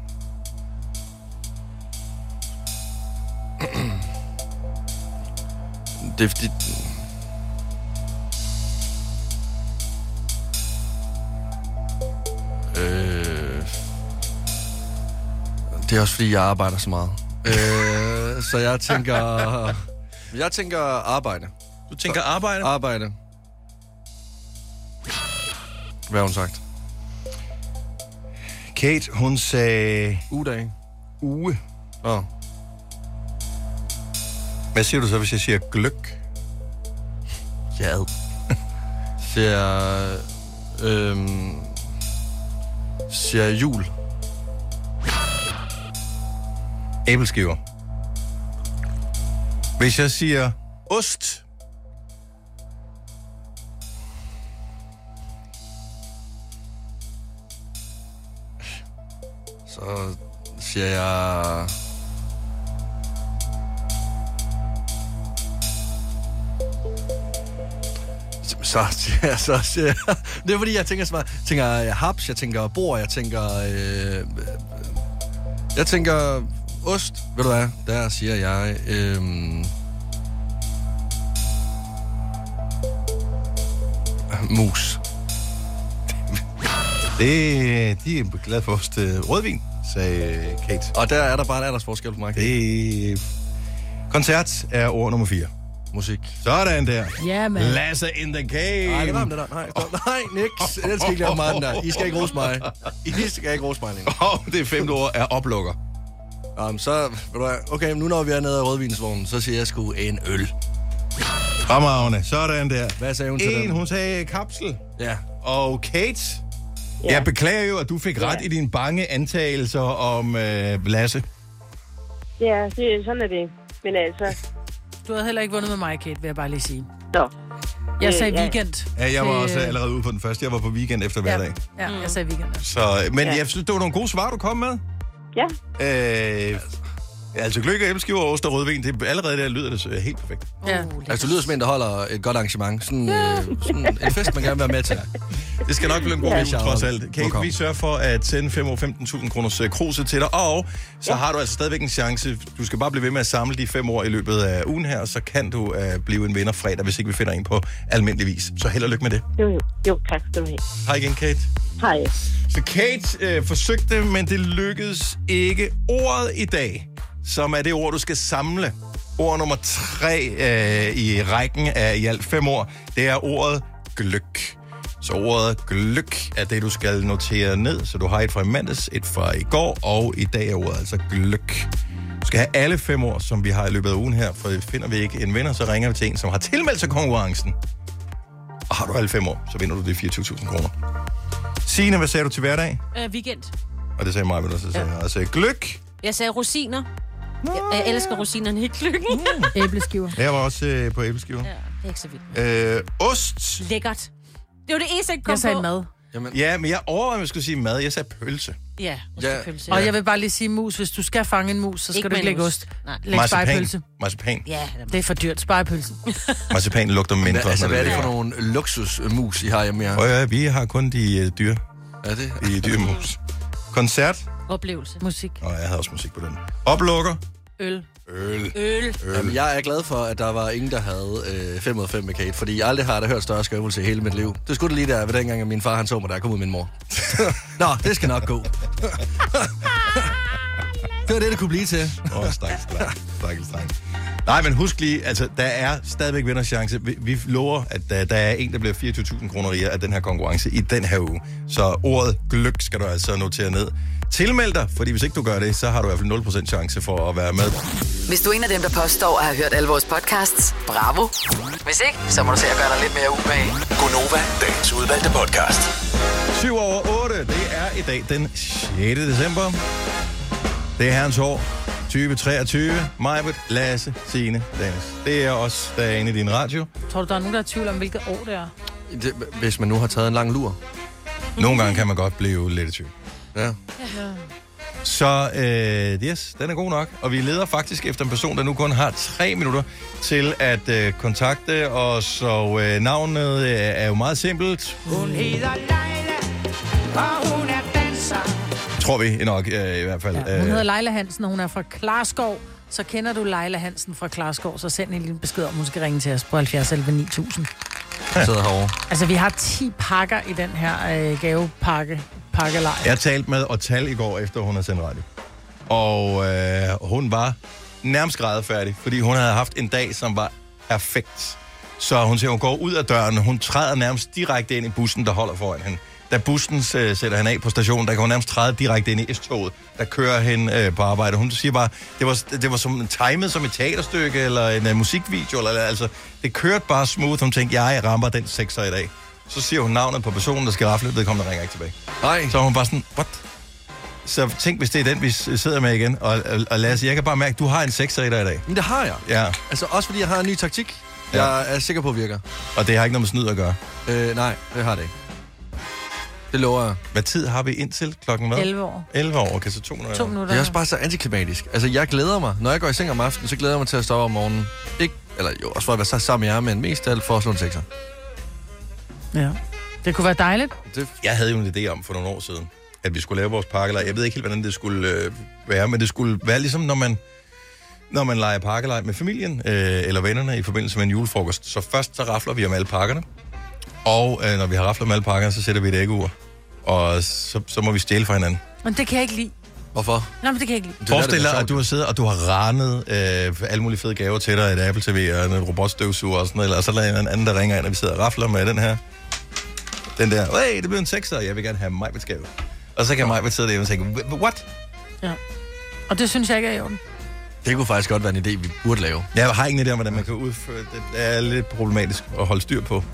B: Det er fordi... Øh... Det er også fordi, jeg arbejder så meget. øh, så jeg tænker... Jeg tænker arbejde.
A: Du tænker arbejde?
B: Arbejde. Hvad har hun sagt?
A: Kate, hun sagde...
B: Ugedag.
A: Uge.
B: Nå.
A: Hvad siger du så, hvis jeg siger gløk?
B: Ja. Siger... Øhm, siger jul.
A: Æbleskiver. Hvis jeg siger ost...
B: Så siger jeg... Så siger jeg, så siger jeg. Det er fordi, jeg tænker så meget. Jeg tænker jeg haps, jeg tænker bord, jeg tænker... Øh, jeg tænker ost. Ved du hvad? Der siger jeg... Øh, mus.
A: Det, de er glade for ost. Øh, Rødvin, sagde øh, Kate.
B: Og der er der bare en aldersforskel på mig.
A: Det... øh, Koncert er ord nummer 4.
B: Musik.
A: Sådan der.
B: Ja, mand.
A: Lasse in the game.
B: Nej, det var ham, det der. Nej, stop. Nej, Nix. Den skal ikke lave Martin der. I skal ikke rose mig. I skal ikke rose mig længere.
A: Og det femte ord er oplukker.
B: Um, så, ved du hvad, okay, nu når vi er nede af rødvinsvognen, så siger jeg sgu en øl.
A: Fremragende. Sådan der.
B: Hvad sagde hun til
A: En,
B: den?
A: hun sagde kapsel.
B: Ja.
A: Og Kate,
B: Ja.
A: ja. jeg beklager jo, at du fik ret ja. i dine bange antagelser om øh, Lasse.
R: Ja, det, sådan er det. Men altså...
C: Du havde heller ikke vundet med mig, Kate, vil jeg bare lige sige.
R: Nå.
C: Jeg
R: Øh,
C: sagde
R: ja.
C: weekend.
A: Ja, jeg var
C: til-
A: også allerede ude på den første. Jeg var på weekend efter hverdag. Øh. Ja.
C: Ja,
R: Mm.
C: jeg sagde weekend.
A: Så, øh, men
C: Ja.
A: ja. jeg synes, det var nogle gode svar, du kom med.
R: Ja.
A: Øh, altså, gløk og æbleskiver, ost og rødvin, det, allerede der lyder det øh, helt perfekt.
C: Ja.
B: Altså, du lyder som en, der holder et godt arrangement. Sådan, øh, sådan en fest, man gerne vil være med til.
A: Det skal nok blive en god
B: Ja.
A: jul, trods alt. Kate,
B: Velkommen.
A: vi sørger for at sende 5 år 15.000 kroners øh, kruse til dig, og så ja. har du altså stadigvæk en chance. Du skal bare blive ved med at samle de 5 år i løbet af ugen her, og så kan du uh, blive en vinder fredag, hvis ikke vi finder en på almindelig vis. Så held og lykke med det.
R: Jo, jo. jo tak skal du have.
A: Hej igen, Kate.
R: Hej.
A: Så Kate øh, forsøgte, men det lykkedes ikke. Ordet i dag, som er det ord, du skal samle, ord nummer tre øh, i rækken af i alt fem ord, det er ordet gløk. Så ordet gløk er det, du skal notere ned, så du har et fra i mandags, et fra i går, og i dag er ordet altså gløk. Du skal have alle fem ord, som vi har i løbet af ugen her, for finder vi ikke en vinder, så ringer vi til en, som har tilmeldt sig konkurrencen. Og har du alle fem år, så vinder du de 24.000 kroner. Signe, hvad sagde du til hverdag?
D: Øh, weekend.
A: Og det sagde mig, men også sagde ja. jeg sagde, gløk.
D: Jeg sagde rosiner. Jeg, jeg elsker rosinerne i lykken.
C: Mm. Æbleskiver.
A: Jeg var også øh, på æbleskiver.
D: Ja, det er ikke så vildt.
A: Ja. Øh, ost.
D: Lækkert. Det var det eneste, jeg ikke kom
C: Jeg sagde
D: på.
C: mad.
A: Jamen. Ja, men jeg overvejede, om jeg skulle sige mad. Jeg sagde pølse.
D: Ja,
A: Ja.
C: Ja. Og jeg vil bare lige sige mus. Hvis du skal fange en mus, så skal
D: Ikke
C: ikke du ikke
D: med en
C: lægge
D: ost.
C: ost.
D: Nej.
C: Læg spejepølse.
A: Marcipan.
D: Ja,
C: det er for dyrt. Spejepølsen.
A: Marcipan lugter mindre.
B: altså,
A: når
B: hvad er det for
A: ligger.
B: nogle luksusmus, I har hjemme her?
A: Prøv at høre, vi har kun de øh, dyre.
B: Er det?
A: De dyre mus. Koncert.
D: Oplevelse.
C: Musik.
A: Og jeg havde også musik på den. Oplukker.
C: Øl.
A: Øl.
D: Øl.
A: Øl.
B: Jamen, jeg er glad for, at der var ingen, der havde øh, 5 ud af 5 med Kate, fordi jeg aldrig har da hørt større skøvelse i hele mit liv. Det skulle det lige der ved dengang, at min far han så mig, der kom ud min mor. Nå, det skal nok gå. det var det, det kunne blive til.
A: Åh, oh, stak, stak, stak, stak. Nej, men husk lige, altså, der er stadigvæk vinderchance. Vi, vi lover, at øh, der, der er en, der bliver 24.000 kroner rigere af den her konkurrence i den her uge. Så ordet gløk skal du altså notere ned. Tilmeld dig, fordi hvis ikke du gør det, så har du i hvert fald 0% chance for at være med.
G: Hvis du er en af dem, der påstår at have hørt alle vores podcasts, bravo. Hvis ikke, så må du se at gøre dig lidt mere umage.
F: Gonova, dagens udvalgte podcast.
A: 7 over 8, det er i dag den 6. december. Det er herrens år 2023. Majbet, Lasse, Signe, Dennis. Det er os, der er inde i din radio.
C: Tror du, der er nogen, der er i tvivl om, hvilket år det er?
B: Det, hvis man nu har taget en lang lur.
A: Nogle gange kan man godt blive lidt i tvivl. Ja. Så øh, yes, den er god nok. Og vi leder faktisk efter en person, der nu kun har tre minutter til at øh, kontakte os. Og øh, navnet øh, er jo meget simpelt.
J: Hun hedder Leila, og hun er danser.
A: Tror vi nok øh, i hvert fald.
C: Hun hedder
A: øh,
C: Leila Hansen, og hun er fra Klarskov. Så kender du Leila Hansen fra Klarskov, så send en lille besked om, hun skal ringe til os på 70 11 9000.
B: Jeg sidder herovre.
C: Altså, vi har 10 pakker i den her øh, gavepakke. Pakkelej.
A: Jeg talte med Otal i går, efter hun havde sendt radio. Og øh, hun var nærmest grædefærdig, fordi hun havde haft en dag, som var perfekt. Så hun siger, hun går ud af døren, hun træder nærmest direkte ind i bussen, der holder foran hende. Da bussen øh, sætter hende af på stationen, der kan hun nærmest træde direkte ind i S-toget, der kører hende øh, på arbejde. Hun siger bare, det var, det var som timet som et teaterstykke, eller en øh, musikvideo, eller, eller altså, det kørte bare smooth. Hun tænkte, jeg rammer den sekser i dag. Så siger hun navnet på personen, der skal rafle, vedkommende ringer ikke tilbage. Nej. Så er hun bare sådan, what? Så tænk, hvis det er den, vi s- sidder med igen. Og, og, og Lasse, jeg kan bare mærke, at du har en sekser i dig i dag.
B: Men det har jeg.
A: Ja.
B: Altså også fordi jeg har en ny taktik, jeg er sikker på virker.
A: Og det har ikke noget med snyd at gøre.
B: Øh, nej, det har det ikke. Det lover jeg.
A: Hvad tid har vi indtil klokken hvad?
C: 11 år.
A: 11 år, okay, så 2 minutter.
C: To minutter.
B: Det er også bare så antiklimatisk. Altså, jeg glæder mig. Når jeg går i seng om aftenen, så glæder jeg mig til at stå op om morgenen. Ikke, eller jo, også for at være så sammen med jer, men mest af alt for at slå en sekser.
C: Ja. Det kunne være dejligt.
A: Det... Jeg havde jo en idé om for nogle år siden, at vi skulle lave vores pakkelej. Jeg ved ikke helt, hvordan det skulle øh, være, men det skulle være ligesom, når man, når man leger pakkelej med familien øh, eller vennerne i forbindelse med en julefrokost. Så først så rafler vi om alle pakkerne, og øh, når vi har raflet om alle pakkerne, så sætter vi et æggeur. Og så, så må vi stjæle fra hinanden.
C: Men det kan jeg ikke lide.
B: Hvorfor?
C: Nej, men det kan jeg ikke lide.
A: Forestil dig, at du har siddet, og du har ranet øh, alle mulige fede gaver til dig. Et Apple TV og en robotstøvsuger og sådan noget. Eller, og så er der en anden, der ringer ind, og vi sidder og rafler med den her. Den der, hey, det blev en sekser, jeg vil gerne have mig gave. Og så kan mig sidde der og tænke, "Wh- what?
C: Ja. Og det synes jeg ikke er i orden.
B: Det kunne faktisk godt være en idé, vi burde lave.
A: Jeg har ikke en idé om, hvordan man kan udføre det. Det er lidt problematisk at holde styr på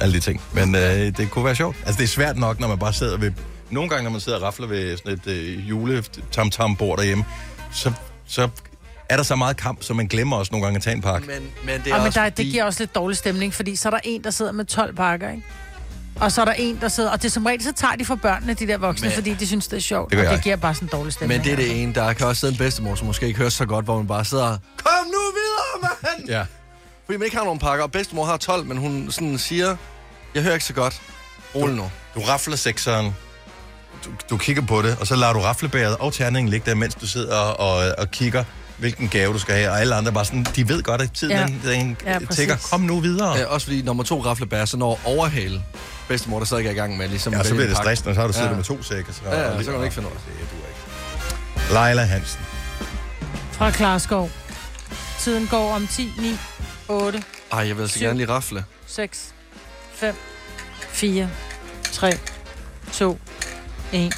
A: alle de ting. Men øh, det kunne være sjovt. Altså, det er svært nok, når man bare sidder ved... Nogle gange, når man sidder og rafler ved sådan et øh, jule-tam-tam-bord derhjemme, så, så er der så meget kamp, så man glemmer også nogle gange at tage en pakke.
B: Men, men
C: Det,
A: er
C: og men
A: også
C: der,
A: fordi-
C: det giver også lidt dårlig stemning, fordi så er der en, der sidder med 12 pakker, ikke? Og så er der en, der sidder... Og det er som regel, så tager de for børnene, de der voksne,
B: Men-
C: men, fordi de synes, det er sjovt.
B: Det gør
C: og
B: jeg.
C: det giver bare sådan en dårlig stemning.
B: Men det er det ene. Der kan også sidde en bedstemor, som måske ikke hører så godt, hvor man bare sidder og... Kom nu videre, mand!
A: Ja.
B: Fordi man ikke har nogen pakker, og bedstemor har 12, men hun sådan siger, jeg hører ikke så godt. Rul nu.
A: Du rafler sekseren, du, du kigger på det, og så lader du raflebæret og terningen ligge der, mens du sidder og, og, og kigger, hvilken gave du skal have. Og alle andre bare sådan, de ved godt, at tiden ja.
B: Ja.
A: den, den
B: Ja,
A: ja,
B: præcis.
A: tækker. Kom nu videre.
B: Ja, også fordi nummer to raflebær, så når overhale bedstemor, der stadig er i gang med ligesom...
A: Ja, så
B: at vælge
A: bliver
B: en
A: det
B: pakke.
A: stressende, og så har du siddet med to sække, så-
B: Ja, ja, så kan du ikke finde noget.
A: Leila Hansen.
C: Fra Klarskov. Tiden går om 10, 9, 8,
B: Ej, jeg vil altså
C: Syv.
B: gerne lige rafle.
C: 6, 5, 4, 3, 2, 1.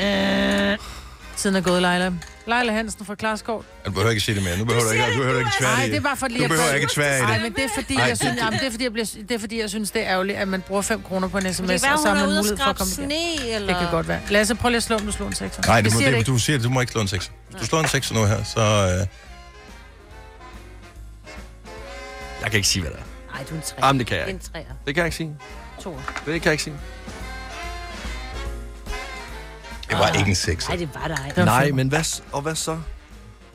C: Øh. Tiden er gået, Leila. Leila Hansen fra Klarskov.
A: Du behøver ikke sige det mere. Nu behøver du ikke, du behøver ikke tvære
C: Nej,
A: i
C: det er bare for lige
A: Du behøver ikke tvære i det.
C: Nej, men det er fordi,
A: Nej,
C: jeg synes,
A: det-
C: jamen, det er fordi, jeg bliver, det er fordi, jeg synes, det er ærgerligt, at man bruger 5 kroner på en sms,
D: kan være,
C: og så
D: hun
C: har
D: er
C: man
D: ude og
C: mulighed for at
D: skrabe
C: komme
D: sne,
C: hjem.
D: eller-
C: Det kan godt være. Lasse, prøv lige at slå, om du slår en sekser.
A: Nej, du,
C: Jeg
A: må,
C: siger
A: det,
C: ikke.
A: du siger, du må ikke slå en sekser. Hvis du slår en sekser nu her, så... Øh,
B: Jeg kan ikke sige, hvad det er.
D: Nej, du er en træer.
B: Jamen, det kan jeg
D: En
B: ikke.
D: træer.
B: Det kan jeg ikke sige.
D: To.
B: Det kan jeg ikke sige.
A: det var ikke en sekser.
D: Nej, det var der ikke.
B: Nej, men hvad, s- og hvad så?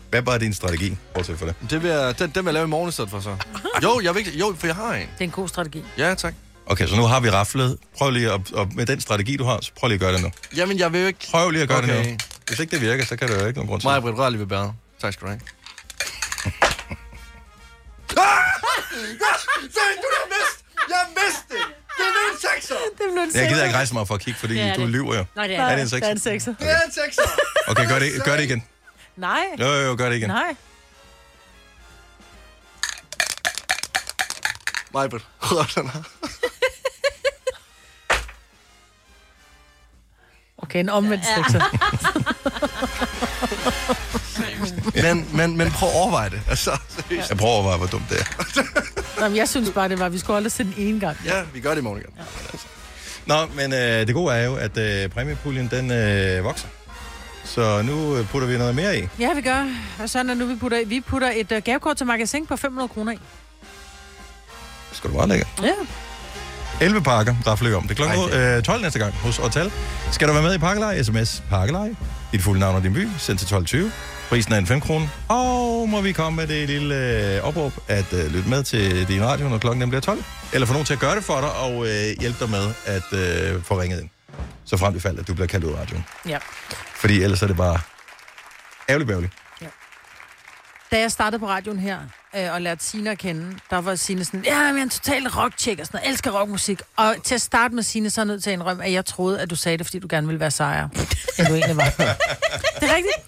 A: Hvad var din strategi? Bortset for det.
B: Det vil jeg, den, den vil jeg lave i morgen i stedet for så. Jo, jeg vil ikke, jo, for jeg har en.
C: Det er en god strategi.
B: Ja, tak.
A: Okay, så nu har vi raflet. Prøv lige at, og med den strategi, du har, så prøv lige at gøre det nu.
B: Jamen, jeg vil jo ikke...
A: Prøv lige at gøre okay. det
B: Okay.
A: nu. Hvis ikke det virker, så kan det jo ikke nogen grund til.
B: Maja Britt, rør lige ved bæret. Tak skal du have.
J: Ah! Yes! Sagde du det vidste! Jeg vidste det! Det blev en sekser! Det blev en
A: Jeg gider ikke rejse mig for at kigge, fordi
J: Det er
A: du
J: det.
A: lyver jo.
J: Nej, det er
A: er
J: det.
A: det en
J: Det er en
C: sekser.
A: sekser?
J: Det er en sekser!
A: Okay, gør det, gør det igen.
C: Nej.
A: Jo, jo, jo, gør det igen.
C: Nej.
B: Maja Britt, rør den her.
C: Okay, en omvendt sekser.
B: Men, men, men prøv at overveje det. Altså,
A: Jeg prøver at overveje, hvor dumt det er.
C: Jamen, jeg synes bare, det var, vi skulle aldrig se den ene gang.
B: Ja, vi gør det i morgen igen.
A: Nå, men øh, det gode er jo, at øh, præmiepuljen, den øh, vokser. Så nu øh, putter vi noget mere i.
C: Ja, vi gør. Og sådan er nu, vi putter, vi putter et øh, gavekort til magasin på 500 kroner i.
A: Skal du bare lægge?
C: Ja.
A: 11 pakker, rafle om. Det er klokken øh, 12 næste gang hos Otal. Skal du være med i pakkelej? Sms pakkelej. Dit fulde navn og din by. Send til 12.20. Prisen er en 5 kroner. Og må vi komme med det lille øh, opråb at øh, lytte med til din radio, når klokken den bliver 12. Eller få nogen til at gøre det for dig og øh, hjælpe dig med at øh, få ringet ind. Så frem i fald, at du bliver kaldt ud af radioen.
C: Ja.
A: Fordi ellers er det bare ærgerligt bævligt.
C: Da jeg startede på radioen her, øh, og lærte Sina at kende, der var Sina sådan, ja, men jeg er en total rockcheck og sådan noget, elsker rockmusik. Og til at starte med Sina, så er jeg nødt til at indrømme, at jeg troede, at du sagde det, fordi du gerne ville være sejr, end du egentlig var. det er rigtigt.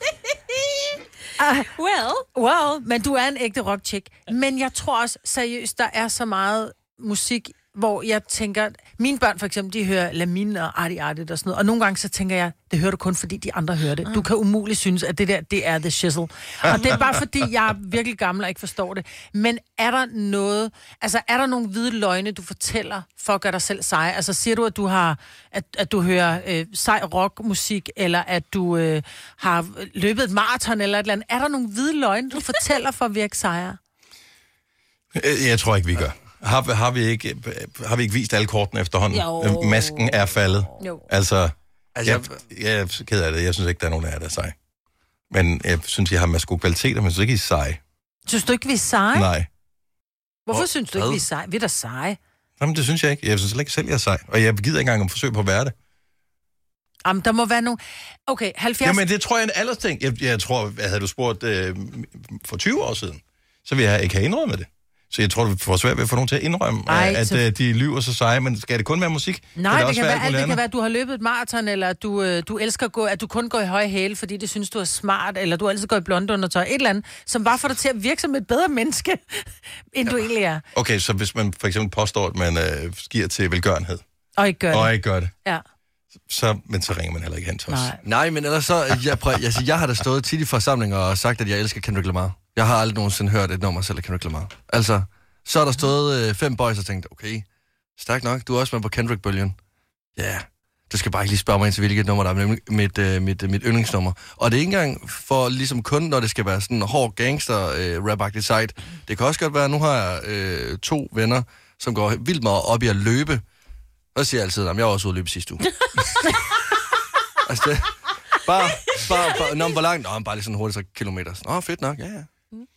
C: Uh,
D: well.
C: Well, men du er en ægte rockchick. Men jeg tror også, seriøst, der er så meget musik, hvor jeg tænker... Mine børn for eksempel, de hører Lamin og Arti Arti og sådan noget. Og nogle gange så tænker jeg, det hører du kun, fordi de andre hører det. Du kan umuligt synes, at det der, det er the shizzle. Og det er bare fordi, jeg er virkelig gammel og ikke forstår det. Men er der noget... Altså, er der nogle hvide løgne, du fortæller for at gøre dig selv sej? Altså, siger du, at du har... At, at du hører øh, sej rockmusik, eller at du øh, har løbet et maraton eller et eller andet. Er der nogle hvide løgne, du fortæller for at virke sejere?
A: Øh, Jeg tror ikke, vi gør. Har, har, vi ikke, har vi ikke vist alle kortene efterhånden?
C: Jo.
A: Øh, Masken er faldet.
C: Jo.
A: Altså, altså jeg, jeg er ked af det. Jeg synes ikke, der er nogen af jer, der er sej. Men jeg synes, jeg har masser gode kvaliteter, men jeg synes ikke, I er sej.
C: Synes du ikke, vi er seje?
A: Nej.
C: Hvorfor
A: Hvor-
C: synes du ikke,
A: hvad?
C: vi er seje? Vi er da seje.
A: Jamen, det synes jeg ikke. Jeg synes heller ikke selv, jeg er sej. Og jeg gider ikke engang om forsøg på at være det.
C: Jamen, der må være nogle... Okay, 70...
A: Jamen, det tror jeg er en aldersting. Jeg, jeg tror, at havde du spurgt øh, for 20 år siden, så ville jeg ikke have indrømmet det. Så jeg tror, du får svært ved at få nogen til at indrømme,
C: Ej,
A: Ej, at
C: så-
A: øh, de lyver så seje. Men skal det kun være musik?
C: Nej,
A: der
C: det,
A: også
C: kan være,
A: alt
C: alt, det
A: muligt
C: kan være, at du har løbet et maraton, eller at du, øh, du elsker at gå, at du kun går i høje hæle, fordi det synes, du er smart, eller du altid går i blonde undertøj, et eller andet, som bare får dig til at virke som et bedre menneske, end du egentlig er,
A: andet? Okay, så hvis man for eksempel påstår, at man øh, skier til velgørenhed,
C: og ikke gør det.
A: og ikke gør det,
C: Ja.
A: så, men så ringer man heller ikke hen til os.
C: Nej.
B: Nej, men ellers så... øh, Jeg, prøv, jeg, jeg har da stået tit i forsamlinger og sagt, at jeg elsker Kendrick Lamar. Jeg har aldrig nogensinde hørt et nummer selv af Kendrick Lamar. Altså, så er der stået øh, fem boys og tænkt, okay, stærkt nok, du er også med på Kendrick-bølgen. Ja, yeah. du skal bare ikke lige spørge mig ind til, hvilket nummer der er nemlig mit, øh, mit, øh, mit yndlingsnummer. Og det er ikke engang for ligesom kun, når det skal være sådan en hård gangster øh, rap site. Det kan også godt være, nu har jeg øh, to venner, som går vildt meget op i at løbe. Og siger jeg altid, at jeg var også ude at løbe sidste uge. altså, det, bare, bare, bare, nå, men hvor langt? Nå, men bare lige sådan hurtigt, så kilometer. Nå, fedt nok, ja, ja.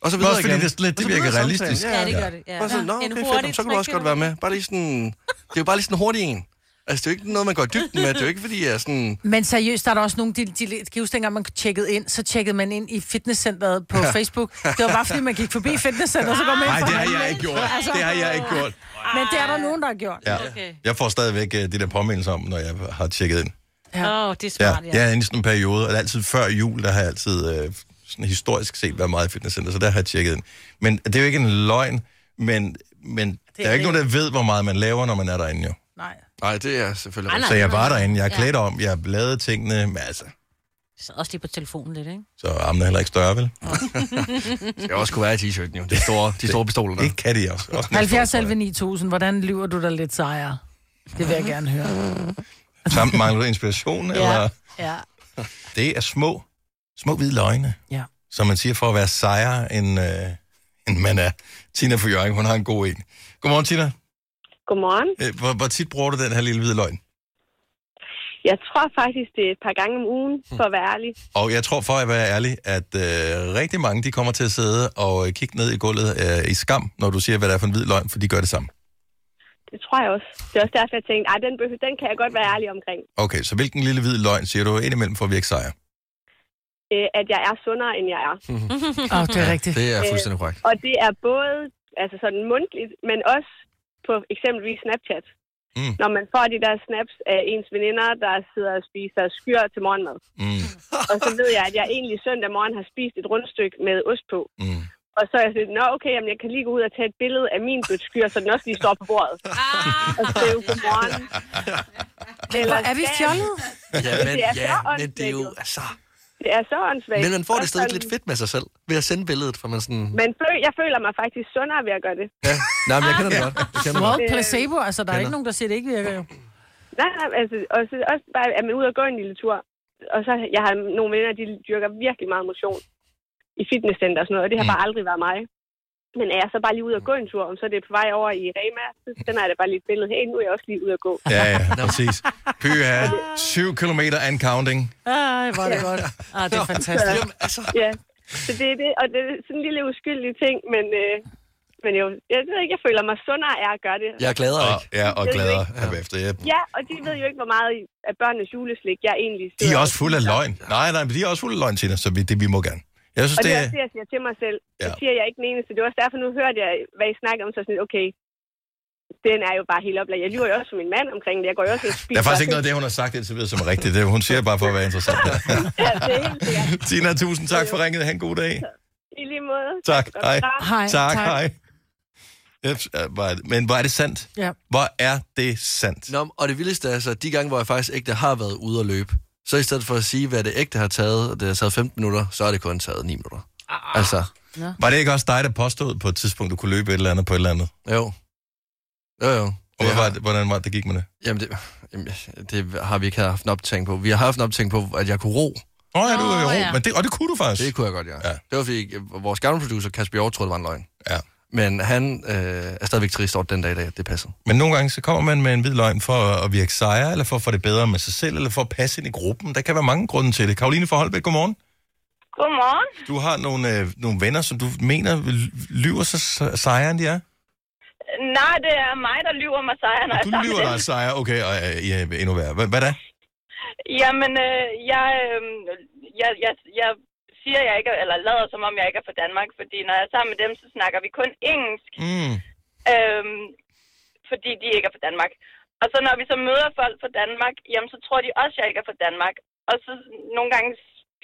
B: Og så videre
A: Også fordi
B: igen.
A: det er sådan lidt-
B: Og så
A: det virker
B: videre samtalen.
A: realistisk. Ja, det gør det,
D: ja.
B: Bare sådan,
D: Ja.
B: nå,
D: En
B: okay, fedt,
D: hurtig
B: jamen, så kan du også godt være med. Bare lige sådan, det er jo bare lige sådan en hurtig en. Altså, det er jo ikke noget, man går i dybden med. Det er jo ikke, fordi jeg er sådan...
C: Men seriøst, der er der også nogle, de, de, de kan huske, dengang man tjekkede ind, så tjekkede man ind i fitnesscenteret på
A: Ja.
C: Facebook. Det var bare, fordi man gik forbi fitnesscenteret, så går man ind
A: Nej,
C: for
A: det har
C: at
A: jeg
C: handle.
A: ikke gjort. Det har jeg ikke gjort.
C: Altså. Men det er der nogen, der har gjort.
A: Ja. Okay. Jeg får stadigvæk øh, de der påmindelser om, når jeg har tjekket ind.
D: Åh, oh, det er
A: Ja,
D: smart, ja.
A: jeg er inde i sådan en periode, og det er altid før jul, der har jeg altid øh, sådan historisk set været meget i fitnesscenter, så der har jeg tjekket ind. Men det er jo ikke en løgn, men, men der er jo ikke nogen, der ved, hvor meget man laver, når man er derinde jo.
C: Nej.
B: Nej, det er selvfølgelig
D: Nej, nej,
A: rigtigt. Så jeg
D: det er
A: var
D: rigtigt.
A: derinde, jeg er
D: Ja.
A: klædt om, jeg lavede tingene, men altså,
D: Jeg sad også lige på telefonen lidt, ikke?
A: så armen er heller ikke større, vel?
B: Det skal også kunne være i t-shirten, jo. De store, de store pistoler der.
A: Det kan de også. også
C: 70 selv 9000, hvordan lyver du dig lidt sejere? Det vil jeg gerne høre.
A: Samt mangler du inspiration, ja. eller?
C: Ja.
A: Det er små, små hvide løgne.
C: Ja.
A: Som man siger for at være sejere, end, øh, end man er. Tina for Jørgen, hun har en god en. Godmorgen, Tina.
R: Godmorgen.
A: Øh, Hvor, hvor tit bruger du den her lille hvide løgn?
R: Jeg tror faktisk, det er et par gange om ugen,
C: Hmm.
R: for at være ærlig.
A: Og jeg tror, for at være ærlig, at øh, rigtig mange, de kommer til at sidde og øh, kigge ned i gulvet øh, i skam, når du siger, hvad det er for en hvid løgn, for de gør det samme.
R: Det tror jeg også. Det er også derfor, jeg tænkte, at den, behø- den kan jeg godt være ærlig omkring.
A: Okay, så hvilken lille hvid løgn siger du indimellem for at virke sejr?
R: Øh, at jeg er sundere, end jeg er.
C: Åh, det er rigtigt.
B: Det er
R: Øh,
B: fuldstændig korrekt.
R: Og det er både altså sådan mundtligt, men også på eksempelvis Snapchat.
A: Mm.
R: Når man får de der snaps af ens veninder, der sidder og spiser skyr til morgenmad.
A: Mm.
R: Og så ved jeg, at jeg egentlig søndag morgen har spist et rundstykke med ost på.
A: Mm.
R: Og så er jeg sådan, nå okay, jamen, jeg kan lige gå ud og tage et billede af min bødt skyr, så den også lige står på bordet. og skrive godmorgen.
C: Eller Ah. er vi fjollede?
B: Ja, men,
R: Det er så
B: ja, men det
R: åndssvagt,
B: er jo... Altså,
R: Det er så åndssvagt.
B: men man får det
R: Også
B: stadig
R: sådan-
B: lidt fedt med sig selv, ved at sende billedet, for man sådan...
R: Men føl- jeg føler mig faktisk sundere ved at gøre det.
B: Ja, nej, men jeg kender det godt. Jeg kender det
C: Well,
B: godt.
C: placebo, altså der er
B: Kender.
C: ikke nogen, der siger, det ikke virker jo.
R: Nej, nej, altså, og så, også bare, at man er ude og gå en lille tur. Og så, jeg har nogle venner, de dyrker virkelig meget motion i fitnesscenter og sådan noget, og det har
A: Mm.
R: bare aldrig været mig. Men er jeg så bare lige ude og gå en tur, om så er det på vej over i Rema, så sender jeg da bare lige et billede. Hey, nu er jeg også lige ude at gå.
A: Ja, ja, præcis. Pyha, 7 km and counting.
C: Ej, hvor er det godt. Ah, det er fantastisk.
R: Jamen, altså. Ja, så det er det, og det er sådan en lille uskyldig ting, men, øh, men jo, jeg ved ikke, jeg føler mig sundere af at gøre det.
A: Jeg glæder og, ikke. Ja, og
R: Jeg
A: glæder er bagefter. Ja.
R: Ja, og de ved jo ikke, hvor meget af børnenes juleslik, jeg egentlig
A: De er
R: sidder
A: også
R: og
A: fulde af
R: spiser.
A: løgn. Nej, nej, men de er også fulde af løgn, Tina, så vi, det, vi må gerne. Jeg synes,
R: og det
A: det
R: er
A: er...
R: også det, jeg siger til mig selv. Ja.
A: Ja.
R: Det siger jeg ikke den eneste. Det var også derfor, nu hørte jeg, hvad I snakkede om, så sådan lidt, okay, den er jo bare helt oplagt. Jeg lyver jo også for min mand omkring det. Jeg går jo også og spiser.
A: Der er faktisk ikke noget af det, hun har sagt indtil videre, som er rigtigt. Det, hun siger bare for at være interessant.
R: Ja, det er helt sikkert.
A: Tina, tusind tak for ringet. Ha' en god dag.
R: I lige måde.
A: Tak. Hej.
R: Hej.
A: Tak, hej. Jeps, ja, hvor er det- Men hvor er det sandt?
C: Ja.
A: Hvor er det sandt?
B: Nå, og det vildeste er så, at de gange, hvor jeg faktisk ægte har været ude at løbe, så i stedet for at sige, hvad det ægte har taget, og det har taget 15 minutter, så er det kun taget 9 minutter.
S: Ah.
B: Altså,
A: Var det ikke også dig, der påstod på et tidspunkt, du kunne løbe et eller andet på et eller andet?
B: jo. Jo, jo.
A: Og hvad var det, hvordan var det, det gik med det?
B: Jamen, det, jamen, det har vi ikke haft en optænk på. Vi har haft en optænk på, at jeg kunne ro.
A: Åh, oh, ja, du er jo
B: Åh,
A: ro.
B: ja.
A: Men det, og det kunne du faktisk.
B: Det kunne jeg godt, ja. ja. Det var fordi, øh, vores gamle producer, Kasper Hjort, troede, det var en løgn.
A: Ja.
B: Men han øh, er stadigvæk trist over den dag i dag, at det passede.
A: Men nogle gange, så kommer man med en hvid løgn for at virke sejre, eller for at få det bedre med sig selv, eller for at passe ind i gruppen. Der kan være mange grunde til det. Karoline for Holbæk, godmorgen.
S: Godmorgen.
A: Du har nogle, øh, nogle venner, som du mener lyver sig se- sejre, end de er?
S: Nej, det er mig, der lyver mig sejren. når
A: Du
S: jeg er altså-
A: lyver
S: sammen med
A: dig sejre, okay, og øh, I er endnu værre. Hvad, hvad da?
S: dem. Jamen, øh, jeg, øh, jeg, jeg, jeg siger, jeg ikke, er- eller lader som om, jeg ikke er fra Danmark, fordi når jeg er sammen med dem, så snakker vi kun engelsk,
A: Mm.
S: øh, fordi de ikke er fra Danmark. Og så når vi så møder folk fra Danmark, jamen så tror de også, jeg ikke er fra Danmark. Og så nogle gange,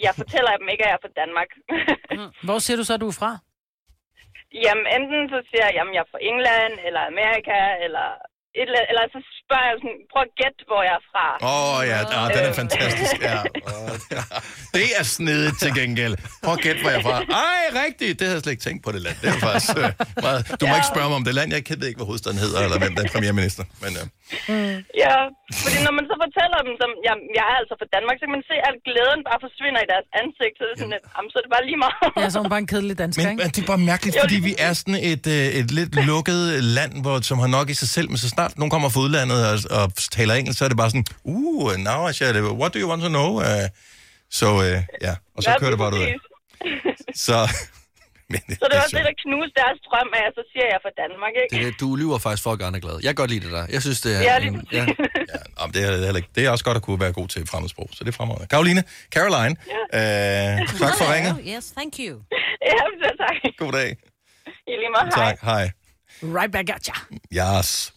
S: jeg fortæller dem ikke, at jeg er fra Danmark.
C: Hvor ser du så, at du er fra?
S: Jamen, enten så siger jeg, jamen, jeg er fra England, eller Amerika, eller et eller, andet, eller så spørger jeg sådan, prøv at gætte, hvor jeg er fra. Øh.
A: Åh oh, ja, ah, den er fantastisk. Ja. Det er snedigt til gengæld. Prøv at gætte, hvor jeg er fra. Ej, rigtigt. Det havde jeg slet ikke tænkt på, det land. Det er faktisk øh, meget... Du må ikke spørge mig om det land. Jeg ved ikke, hvad hovedstaden hedder, eller hvem der er premierminister. Men, øh.
S: Ja, fordi når man så fortæller dem, som, jamen, jeg er altså fra Danmark, så kan man se, at glæden bare forsvinder i deres ansigt. Så, det er sådan, at, jamen, så er det bare lige meget.
C: Ja, så er hun bare en kedelig dansker,
A: Men,
C: ikke?
A: men det er bare mærkeligt, fordi vi er sådan et, øh, et lidt lukket land, hvor, som har nok i sig selv, men så snart nogen kommer fra udlandet og, og taler engelsk, så er det bare sådan, uh, now I shall, what do you want to know? Uh, så øh, ja, og så
S: Ja,
A: kører det bare ud.
S: præcis.
A: Så, men,
S: Så det er også det, der knuste deres drøm af, at så siger jeg er fra Danmark, ikke?
B: Det, er det, du lyver faktisk for at gøre andre glade. Jeg kan godt lide det der. Jeg synes, det er...
S: Ja, lige
B: ja.
A: Nå, men det, er heller ikke, det er også godt at kunne være god til fremmedsprog, så det er fremragende. Caroline, Caroline, øh, tak for ringet.
D: Yes, thank you.
S: ja, så tak.
A: God dag.
S: I lige meget, hej.
A: Tak, hej.
C: Right back at ya.
A: Yes.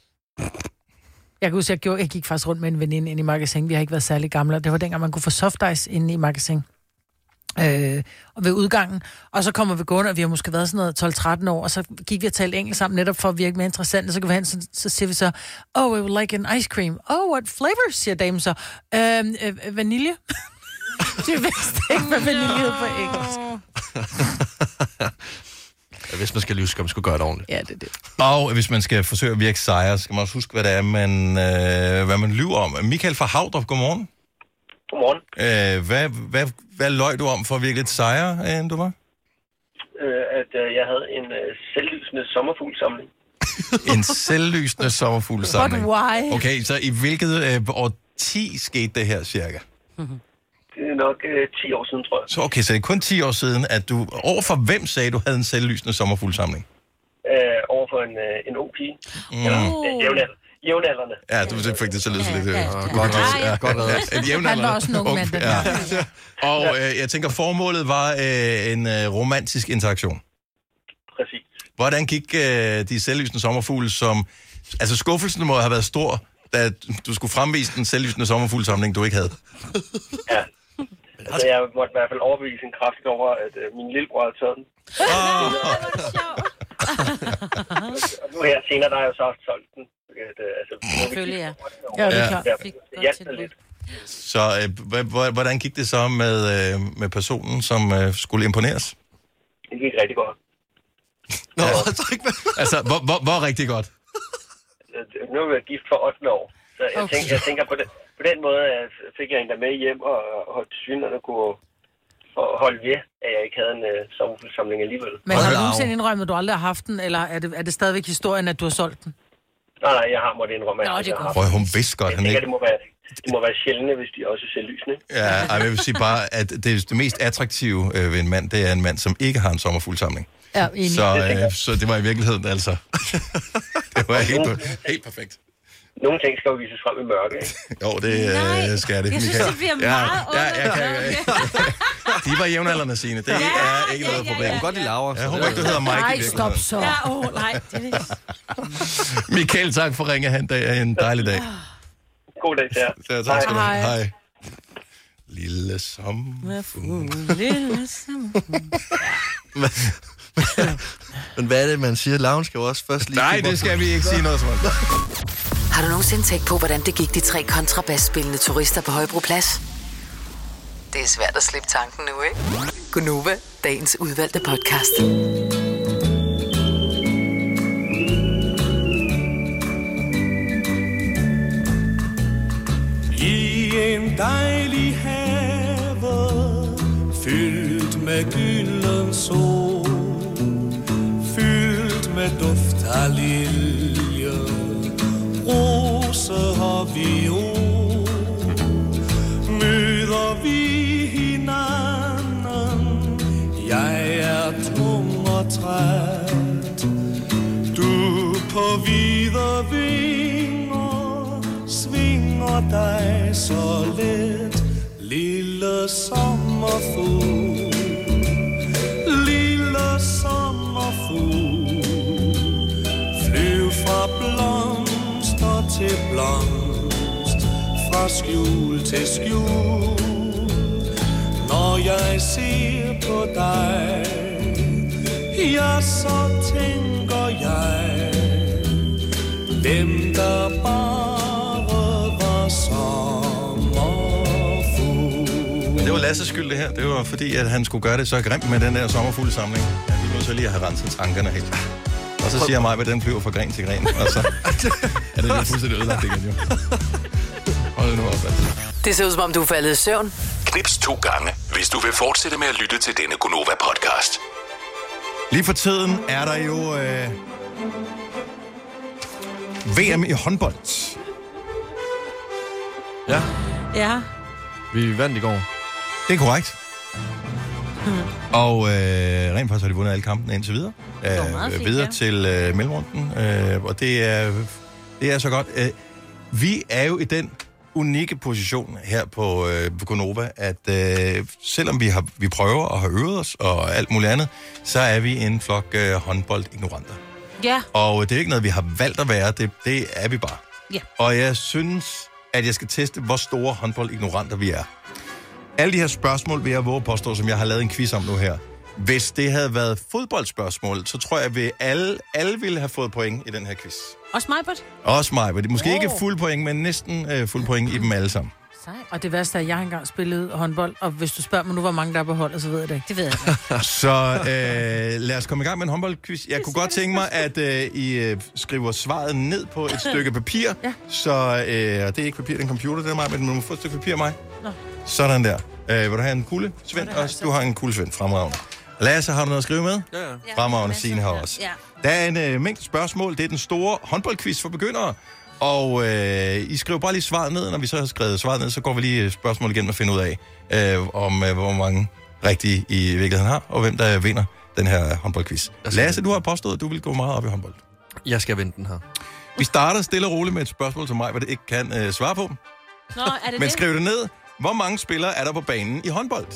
C: Jeg kan huske, jeg, gjorde, jeg gik faktisk rundt med en veninde ind i magasin. Vi har ikke været særlig gamle, og det var dengang, man kunne få soft ice inde i magasin. Øh, og ved udgangen. Og så kommer vi gående, og vi har måske været sådan noget 12-13 år, og så gik vi og talte engelsk sammen, netop for at virke mere interessant. Og så kan vi hen, så, så siger vi så, oh, I would like an ice cream. Oh, what flavor, siger damen så. Øhm, øh, vanilje. De vidste ikke, hvad vanilje hed på engelsk.
B: Hvis man skal lyve, skal man sgu gøre det ordentligt.
C: Ja, det er det.
A: Og hvis man skal forsøge at virke sejre, skal man også huske, hvad det er, man, øh, hvad man lyver om. Michael fra Havdrup, godmorgen.
I: Godmorgen.
A: Øh, hvad, hvad, hvad løg du om for at virke lidt sejre, øh, end du var?
I: Øh, at øh, jeg havde en øh, selvlysende sommerfuglsamling.
A: En selvlysende sommerfuglsamling.
I: But why?
A: Okay, så i hvilket øh, årti skete det her cirka? Mm-hmm.
I: Det er nok øh, 10 år siden, tror jeg.
A: Så okay, så det er kun 10 år siden, at du... Overfor hvem sagde du havde en selvlysende sommerfuglsamling?
I: Øh, over for en, øh, en ung pige.
A: Mm.
I: Eller, øh, jævnaldrende. Jævnaldrende.
A: Ja, du fik det til at lyde så lidt... øh, Godt
I: Nej. Godt reddet.
A: En jævnaldrende.
I: Han var også en ung mand, den
A: ja. Og øh, jeg tænker, formålet var øh, en øh, romantisk interaktion.
I: Præcis.
A: Hvordan gik øh, de selvlysende sommerfugle, som... Altså, skuffelsen må have været stor, da du skulle fremvise den selvlysende sommerfuglsamling, du ikke havde.
I: Altså, jeg måtte i hvert fald overbevise en kraft over, at øh, min lillebror havde taget den. Og nu her senere, der har jeg jo så også solgt den. At, øh, altså,
D: Selvfølgelig, ja.
A: Ja, det er klart.
I: Ja, det hjalp mig lidt.
A: Så øh, hva- hva- hvordan gik det så med, øh, med personen, som øh, skulle imponeres?
I: Det gik rigtig godt.
A: Nå, ja. altså, hvor, hvor, hvor rigtig godt?
I: Øh, Nu er jeg gift for 8 år. Så jeg, tænker, jeg tænker på, den, på den måde, at fik jeg en der med hjem, og, og synerne kunne for at holde ved, at jeg ikke havde en øh, sommerfuglsamling alligevel.
C: Men har du nogensinde indrømmet, at du aldrig har haft den, eller er det, er det stadigvæk historien, at du har solgt den?
I: Nej, nej, jeg har måttet indrømme, at
C: Nå, det er
I: jeg har
C: godt.
A: Prøv, hun vidste godt,
I: Jeg
A: han
I: tænker,
A: ikke...
I: det må være, det må være sjældne, hvis de også ser lysene.
A: Ja, ej, men jeg vil sige bare, at det, det mest attraktive øh, ved en mand, det er en mand, som ikke har en sommerfuglsamling.
C: Ja,
A: Så, øh, så det var i virkeligheden altså... det var helt, helt perfekt.
I: Nogle ting skal jo vises frem i mørke, ikke?
A: Jo, det øh, skal det.
I: Jeg synes,
A: Michael.
I: det bliver
A: ja,
I: meget
A: ja, jeg kan, De var jævnaldrende, Signe. Det er ikke noget problem.
B: Hun kan godt lide Laura.
A: Jeg håber ikke, du hedder Mike i
B: Nej,
A: virkeligheden.
B: stop så.
D: Ja, åh, oh, nej. Det er det.
A: Michael, tak for at ringe. Han dag, en dejlig dag.
I: God dag, ja.
A: Så, tak skal du have.
D: Hej.
A: Hej. Lille som...
D: Med fugle, lille sommer.
B: Men hvad er det, man siger? Lounge skal jo også først lige...
A: Nej, det skal vi ikke sige noget som
G: Har du nogensinde tænkt på, hvordan det gik de tre kontrabasspillende turister på Højbroplads? Det er svært at slippe tanken nu, ikke? Gunova, dagens udvalgte podcast.
T: I en dejlig have Fyldt med gylden sol Fyldt med duft af liljer Rose og viol Møder vi hinanden Jeg er tung og træt Du på videre vinger svinger dig så let, lille sommerfugl. Lille sommerfugl, flyv fra blomster til blomst, fra skjul til skjul. Når jeg ser på dig, ja, så tænker jeg, dem der bare var sommerfugl.
A: Det var Lasses skyld, det her. Det var fordi, at han skulle gøre det så grimt med den der sommerfuglesamling. Han blev nødt til lige at have renset tankerne helt. Og så siger mig, at den flyver fra gren til gren. Og så er det lige fuldstændig ødelagt igen, jo. Hold det nu op, altså.
G: Det ser ud som om, du er faldet i søvn.
F: Knips to gange, hvis du vil fortsætte med at lytte til denne Gonova-podcast.
A: Lige for tiden er der jo øh, VM i håndbold. Ja,
D: Ja.
A: vi vandt i går. Det er korrekt.
D: Hmm.
A: Og øh, rent faktisk har de vundet alle kampene indtil videre. Øh,
D: var meget fint,
A: videre
D: ja.
A: til øh, mellemrunden. Øh, og det er, det er så godt. Øh, vi er jo i den unikke position her på, øh, på Gonova, at øh, selvom vi, har, vi prøver og har øvet os og alt muligt andet, så er vi en flok øh, håndboldignoranter.
D: Ja.
A: Og det er ikke noget, vi har valgt at være. Det, det er vi bare.
D: Ja.
A: Og jeg synes, at jeg skal teste, hvor store håndboldignoranter vi er. Alle de her spørgsmål vil jeg våge at påstå, som jeg har lavet en quiz om nu her. Hvis det havde været fodboldspørgsmål, så tror jeg, at alle, alle ville have fået point i den her quiz.
D: Også mig, but.
A: Også mig, men det er måske oh.
C: Åh.
A: ikke fuld point, men næsten øh, fuld point i dem alle sammen.
C: Og det værste er, at jeg har engang spillet håndbold, og hvis du spørger mig nu, hvor mange der er på holdet, så ved jeg det ikke. Det ved jeg ikke.
A: Så øh, lad os komme i gang med en håndboldquiz. Jeg kunne godt tænke mig, at øh, I øh, skriver svaret ned på et stykke papir. Ja. Så øh, det er ikke papir, det er en computer, det er mig, men du må få et stykke papir af mig.
C: Nå.
A: Sådan der. Øh, vil du have en kugle, Svend? Og du har en kugle, Svend. Fremragende. Lasse, har du noget at skrive med?
B: Ja, ja.
A: Fremragende, Signe har også.
B: Ja.
A: Der er en øh, mængde spørgsmål. Det er den store håndboldquiz for begyndere. Og øh, I skriver bare lige svaret ned. Når vi så har skrevet svaret ned, så går vi lige øh, spørgsmålet igennem og finder ud af, øh, om øh, hvor mange rigtige I i virkeligheden har, og hvem der vinder den her håndboldquiz. Lasse, du har påstået, at du vil gå meget op i håndbold.
B: Jeg skal vente den her.
A: Vi starter stille og roligt med et spørgsmål til mig, hvad det ikke kan øh, svare på.
D: Nå, er det
A: Men
D: det?
A: skriv det ned. Hvor mange spillere er der på banen i håndbold?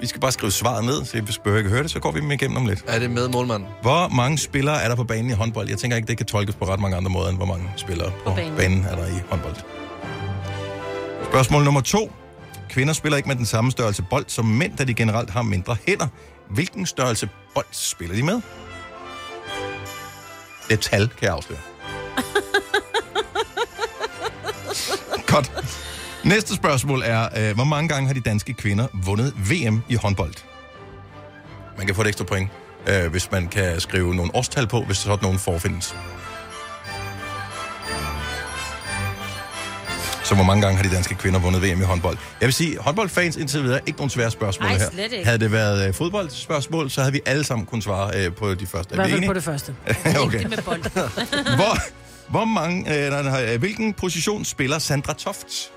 A: Vi skal bare skrive svaret ned, så hvis behøver ikke høre det, så går vi dem igennem om lidt.
B: Er det med målmanden?
A: Hvor mange spillere er der på banen i håndbold? Jeg tænker ikke, det kan tolkes på ret mange andre måder, end hvor mange spillere på, på banen.
B: banen.
A: banen er der i håndbold. Spørgsmål nummer to. Kvinder spiller ikke med den samme størrelse bold som mænd, da de generelt har mindre hænder. Hvilken størrelse bold spiller de med? Det tal kan jeg afsløre. Godt. Næste spørgsmål er, øh, hvor mange gange har de danske kvinder vundet VM i håndbold? Man kan få et ekstra point, øh, hvis man kan skrive nogle årstal på, hvis sådan nogen forfindes. Så hvor mange gange har de danske kvinder vundet VM i håndbold? Jeg vil sige, håndboldfans indtil videre, ikke nogen svære spørgsmål
C: Ej,
A: her.
C: slet ikke.
A: Havde det været øh, fodboldspørgsmål, så havde vi alle sammen kunnet svare øh, på de første.
C: I
A: Er
C: hvert
A: vi
C: fald
A: enige?
C: på det første.
A: okay. Hvor, hvor mange, øh, nej, nej, øh, hvilken position spiller Sandra Toft?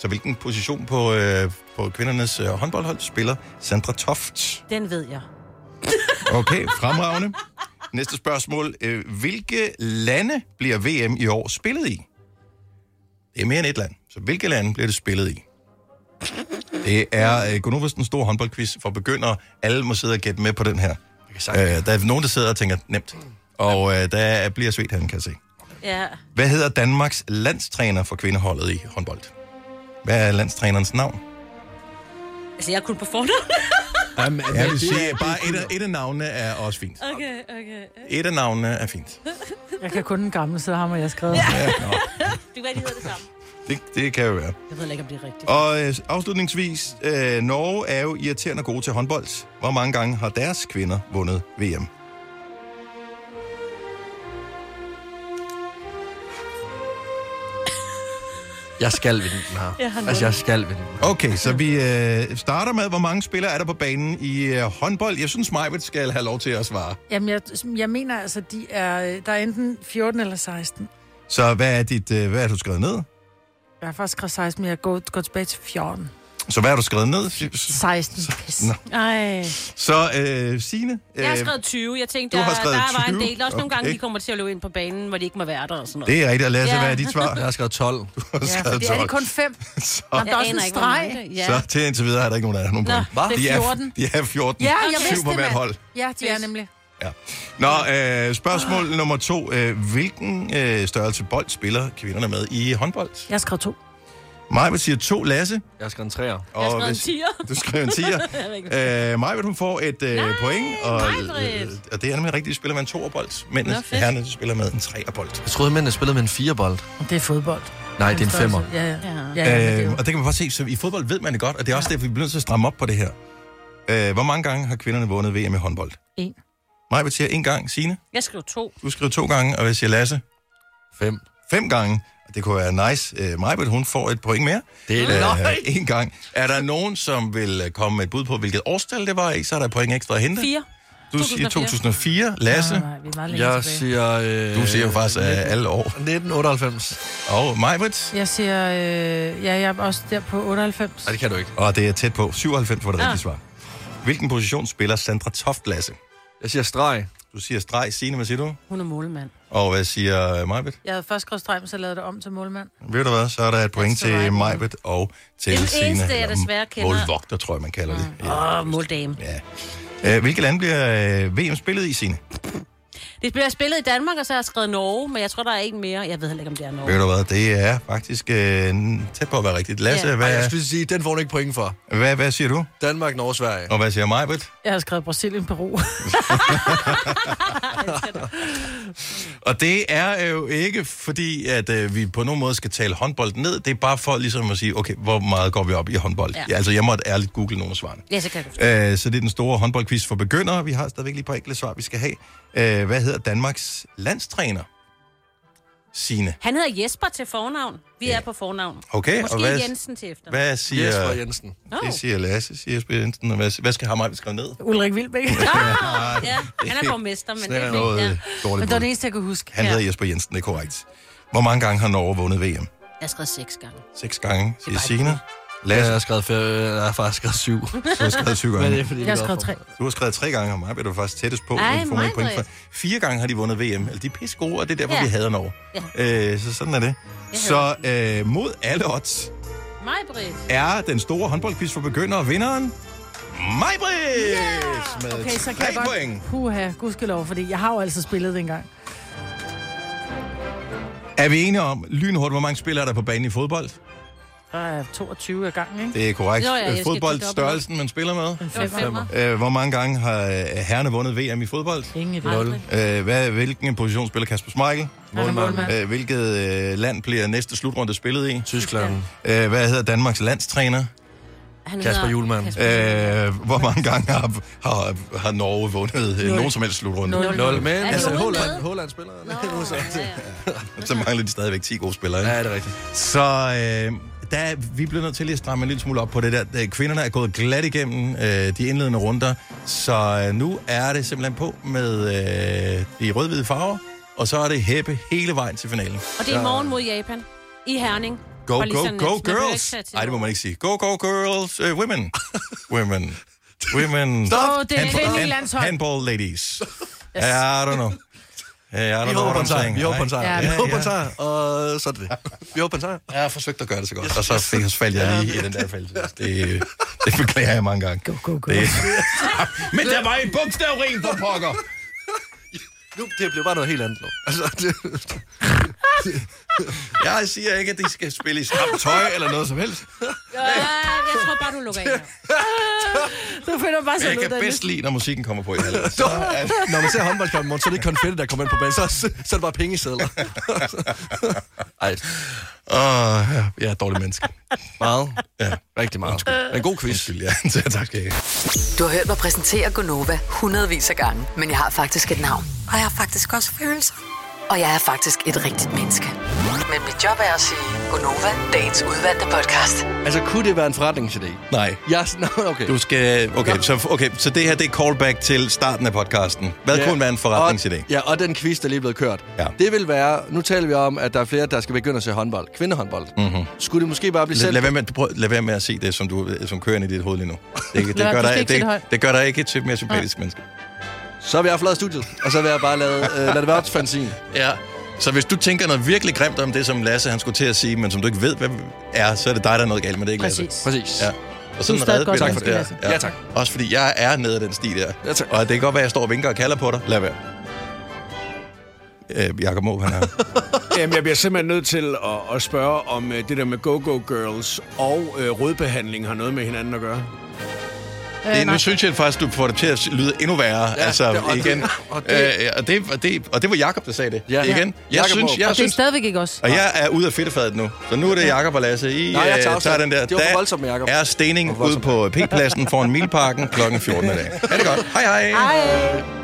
A: Så hvilken position på, øh, på kvindernes øh, håndboldhold spiller Sandra Toft?
D: Den ved jeg.
A: Okay, fremragende. Næste spørgsmål. Øh, hvilke lande bliver VM i år spillet i? Det er mere end et land. Så hvilke lande bliver det spillet i? Det er øh, Gunovas den store håndboldquiz for begyndere. Alle må sidde og gætte med på den her. Øh, der er nogen, der sidder og tænker, nemt. Og øh, der bliver svedt han, kan jeg se.
D: Ja.
A: Hvad hedder Danmarks landstræner for kvindeholdet i håndbold? Hvad er landstrænerens navn?
D: Altså, jeg er kun på fornavn.
A: Jamen, jeg vil
D: det er-
A: sige, bare et af, et af navnene er også fint.
D: Okay, okay.
A: Et af navnene er fint.
C: Jeg kan kun den gamle, så ham og jeg skrevet. Ja.
A: Ja, nå,
D: Du kan de hedder det samme.
A: det, det kan jo være.
D: Jeg ved ikke, om det er rigtigt.
A: Og øh, afslutningsvis, øh, Norge er jo irriterende gode til håndbold. Hvor mange gange har deres kvinder vundet VM?
B: Jeg skal vinde den her.
A: Jeg har nul.
B: altså, jeg skal vinde den.
A: Okay, så vi øh, starter med, hvor mange spillere er der på banen i øh, håndbold? Jeg synes, Majbet skal have lov til at svare.
C: Jamen, jeg, jeg mener altså, de er, øh, der er enten 14 eller 16.
A: Så hvad er, dit, øh, hvad er du skrevet ned?
C: Jeg har faktisk skrevet 16, men jeg går, går tilbage til 14.
A: Så hvad har du skrevet ned?
C: 16. Pis.
A: Nå.
D: Ej.
A: Så øh, Signe?
D: Jeg har skrevet 20. Jeg tænkte,
A: du
D: der,
A: har skrevet
D: der var en
A: 20.
D: del. Der er Også nogle gange,
A: Okay.
D: de kommer til at løbe ind på banen, hvor de ikke må være der og sådan noget.
A: Det er rigtigt, og Lasse, hvad er dit svar?
B: Jeg har skrevet 12.
A: Du har
D: Ja,
A: skrevet 12.
D: fordi er det
C: Kun 5.
A: Så,
C: Nå, der er også en
D: aner ikke, hvor
C: streg.
D: mange det-
A: ja. så til indtil videre er der ikke nogen, der har nogen
C: Nå,
A: point.
C: Hva? det er
A: De er,
C: 14.
A: de er 14.
C: Ja, jeg
A: Syv
C: vidste
A: på
C: det,
A: hvert
C: mand.
A: hold.
C: Ja, de er nemlig.
A: Nå, øh, spørgsmål nummer to. Øh, hvilken øh, størrelse bold spiller kvinderne med i håndbold?
C: Jeg skrev to.
A: Maja vil sige to, Lasse.
B: Jeg skrev en træer.
A: Og hvis- Du skrev en
B: Jeg ved
A: tiger.
B: ikke.
A: øh, Majbert, hun får et øh, point. Og,
B: Majbrit!
A: og det er nemlig rigtigt, de spiller med en toerbold.
B: Nå,
A: Mændene,
B: fedt.
A: herrene, de spiller med en treerbold.
B: Jeg troede, mændene spillede med en firebold.
C: Det er fodbold.
B: Nej, det er
C: Den
B: en femmer.
C: størrelse. Ja, ja. ja. ja, ja, men det er
A: Øh,
C: jo-
A: og det kan man bare se, så i fodbold ved man det godt, og det er også derfor, vi bliver nødt til at stramme op på det her. Øh, hvor mange gange har kvinderne vundet VM i håndbold?
C: En.
A: Maja vil sige en gang. Signe?
D: Jeg skrev to.
A: Du skriver to gange, og hvad siger Lasse? Fem. Fem gange. Og Det kunne være nice. Øh, Majbert, hun får et point mere. Øh,
B: Det er løgn.
A: En gang. Er der nogen, som vil øh, komme med et bud på, hvilket årstal det var i, så er der et point ekstra at hente.
D: Fire.
A: Du siger 2004. Lasse?
C: Nej, nej, vi er meget længe
B: Jeg
C: tilbage.
B: siger... Øh,
A: Du siger jo faktisk øh, alle år.
B: 1998.
A: Og Majbrit?
C: Jeg siger, øh, ja, jeg er også der på 98.
A: Nej, det kan du ikke. Og det er tæt på. 97 var det
C: Ah.
A: rigtige svar. Hvilken position spiller Sandra Toft, Lasse? Jeg siger streg. Du siger streg. Signe, hvad siger du?
C: Hun er målmand.
A: Og hvad siger øh, Majbrit?
C: Jeg havde først skrevet streg, men så lavede jeg det om til målmand.
A: Ved du hvad, så er der et point til Majbrit og til
D: Den
A: Signe.
D: eneste, jeg
A: Eller
D: desværre kender.
A: Målvogter, tror jeg, man kalder det.
D: Åh, måldame.
A: Ja. Øh, Hvilket land bliver øh, VM spillet i, Signe?
D: Det bliver spillet i Danmark, og så har jeg skrevet Norge, men jeg tror, der er en mere. Jeg ved heller ikke, om det er Norge.
A: Ved du hvad, det er faktisk øh, tæt på at være rigtigt. Lasse,
B: Ja.
A: ja.
B: Ej,
A: hvad,
B: jeg skulle sige, den får du ikke point for.
A: hvad, hvad siger du?
B: Danmark, Norge, Sverige.
A: Og hvad siger Majbrit?
C: Jeg har skrevet Brasilien, Peru.
A: Og det er jo ikke fordi, at øh, vi på nogen måde skal tale håndbold ned. Det er bare for ligesom at sige, okay, hvor meget går vi op i håndbold?
D: Ja.
A: Ja. Altså, jeg måtte ærligt google nogle af svarene.
D: Ja, så kan jeg godt.
A: Øh, så det er den store håndboldquiz for begyndere. Vi har stadigvæk lige et par enkelte svar, vi skal have. Øh, hvad hedder Danmarks landstræner? Sine.
D: Han hedder Jesper til fornavn. Vi er på fornavn.
A: Okay,
D: Måske
A: og hvad-
D: Jensen til efter.
A: Hvad siger...
B: Jesper Jensen.
A: Det siger Lasse, siger Jesper Jensen. Og hvad, hvad skal ham og skrive ned? Ah,
C: Ulrik Vilbæk.
D: ja, han er borgmester, men det
A: Slet
D: er
A: ikke noget
D: fint.
A: dårligt
C: Men det var
A: bud.
C: det eneste, jeg kunne huske.
A: øh, Han hedder Jesper Jensen, det er korrekt. Hvor mange gange har Norge vundet VM?
D: Ja. Jeg har skrevet seks gange.
A: Seks gange, siger Signe.
B: Lasse.
A: Lasse,
B: Jeg har skrevet, før, jeg har faktisk skrevet syv. Du
A: du har skrevet syv gange.
B: Men det er, fordi, det går for-
A: Du har skrevet tre gange, og mig er du faktisk tættest på.
B: Ej,
A: Ej, får man et point
B: Majbrit.
A: for. Fire gange har de vundet VM. Altså, de er pisse gode, og det er derfor,
D: Ja.
A: ja. vi hader Norge. Ja. Øh, så sådan er det. Så øh, mod alle odds
D: Mig, Britt.
A: er den store håndboldquiz for begyndere vinderen. Majbrit! Yeah! Med
C: Okay, så kan
A: tre
C: jeg
A: point.
C: godt... Puha, gudskelov, fordi jeg har jo altid spillet dengang.
A: Er vi enige om, lynhurtigt, hvor mange spillere er der på banen i fodbold?
C: Der er 22 af gangen, ikke?
A: Det er korrekt.
C: Nå ja, jeg skal kigge op.
A: Fodboldstørrelsen, man spiller med.
C: En femmer.
A: Øh, hvor mange gange har øh, herrene vundet VM i fodbold?
C: Ingen
A: idé. Øh, hvad, hvilken position spiller Kasper Schmeichel?
B: Målmand. målmand.
A: Øh, hvilket øh, land bliver næste slutrunde spillet i? Tyskland. Øh, hvad hedder Danmarks landstræner?
D: Han
B: Kasper Julemand.
A: Øh, hvor mange gange har, har, har Norge vundet øh,
B: Nul.
A: nogen som helst slutrunde?
B: Nul. Nul, men Er de altså, overhovedet Haaland- med?
A: spiller. Så mangler de stadigvæk 10 gode spillere. Ikke?
B: Ja, det er rigtigt.
A: Så øh, der, vi bliver nødt til lige at stramme en lille smule op på det der. Øh, Kvinderne er gået glat igennem øh, de indledende runder, så øh, nu er det simpelthen på med øh, de rød-hvide farver, og så er det hæppe hele vejen til finalen.
D: Og det er i morgen mod Japan. I Herning.
A: Go,
D: Bare lige
A: go,
D: sådan,
A: go
D: at- man behøver ikke
A: girls!
D: tage til-
A: Nej, det må man ikke sige. Go, go girls! Uh, women! Women. Women.
C: Stop. Åh, det er
A: Handball-
C: kvindelige
A: hand-
C: landshold.
A: Handball ladies. I don't know. Hey, I don't
B: Vi
A: know
B: håber
A: what
B: på
A: I'm
B: en sejr.
A: saying.
B: Vi håber på en
A: Nej.
B: sejr. Vi håber på en sejr, og så er det det. Vi håber på en sejr.
A: Jeg har forsøgt at gøre det så godt, og så fik jeg faldt jeg lige i den der fælde. Det, det beklager jeg mange gange. Go, go, go. Det, Men der var en bogstavrim på pokker!
B: Nu, det blev bare noget helt andet nu. Altså, det,
A: jeg siger ikke, at de skal spille i stramt tøj eller noget som helst.
D: Øh, jeg tror bare, du lukker af.
C: Du finder bare
A: Men
C: sådan
A: jeg
C: noget,
A: kan
C: der er
A: bedst lide, når musikken kommer på i halvdelen. Så er det-
B: Når man ser håndboldkampen, morgen, så er det ikke konfetti, der kommer ind på banen. Så, så er det bare pengesedler. Ej.
A: Åh, jeg er et dårligt menneske.
B: Meget.
A: Ja.
B: Rigtig meget. En god quiz.
A: Undskyld, ja. Så tak skal jeg have.
G: Du har hørt mig præsentere Gonova hundredvis af gange, men jeg har faktisk et navn. Og jeg har faktisk også følelser. Og jeg er faktisk et rigtigt menneske. Men mit job er at sige Gonova, dagens udvalgte podcast.
B: Altså, kunne det være en forretningsidé?
A: Nej.
B: Jeg, no, okay.
A: Du skal... Okay, så, okay, så det her, det er callback til starten af podcasten. Hvad kunne være en forretningsidé?
B: Ja, og den quiz, der lige er blevet kørt. Ja. Det vil være, nu taler vi om, at der er flere, der skal begynde at se håndbold. Kvindehåndbold.
A: Mm-hmm.
B: Skulle det måske bare blive
A: Lad,
B: selv...
A: lad, være med, prøv, lad være med at se det, som, du, som kører ind i dit hoved lige nu. Det, det,
B: Lad være,
A: gør,
B: du skal
A: dig,
B: ikke se det
A: det,
B: højt.
A: det gør dig ikke til et mere sympatisk menneske.
B: Så vil jeg forlade studiet, og så vil jeg bare lade, øh, lade det være op til fantasien.
A: Ja. Så hvis du tænker noget virkelig grimt om det, som Lasse han skulle til at sige, men som du ikke ved, hvad er, så er det dig, der er noget galt med det, er ikke
B: Præcis.
A: Lasse?
B: Præcis.
A: Ja.
B: Du er
A: Og sådan
B: stadig
A: redder
B: godt
A: vi
B: menneske,
A: dig.
B: Lasse. Ja, tak.
A: Også fordi jeg er nede af den sti der. Ja, tak. Og det kan godt være, at jeg står og vinker og kalder på dig. Lad være. Øh, Jakob Måb, han er...
E: Jamen, jeg bliver simpelthen nødt til at, at spørge, om øh, det der med Go-Go Girls og øh, rødbehandling har noget med hinanden at gøre.
C: Øh,
A: Det, nu synes jeg faktisk, du får det til at lyde endnu værre. Ja,
E: Ja,
A: altså,
E: det- og det-
A: igen.
E: og
A: Og
E: det-
A: det, øh, og, det, og, det, og det var Jakob, der sagde det. Ja. Igen. Jeg
C: Jakob
A: synes,
C: Aarup.
A: jeg
C: og det er
A: synes,
C: stadigvæk ikke os.
A: og jeg er ude af fedtefadet nu. Så nu er det Jakob og Lasse. I
B: Nej, jeg
A: øh,
B: tager afstand.
A: den der.
B: Det var for
A: Der
B: voldsomt med Jakob.
A: er stening ude på P-pladsen foran Milparken kl. 14 i dag. Ha' det godt. Hej hej.
C: Hej.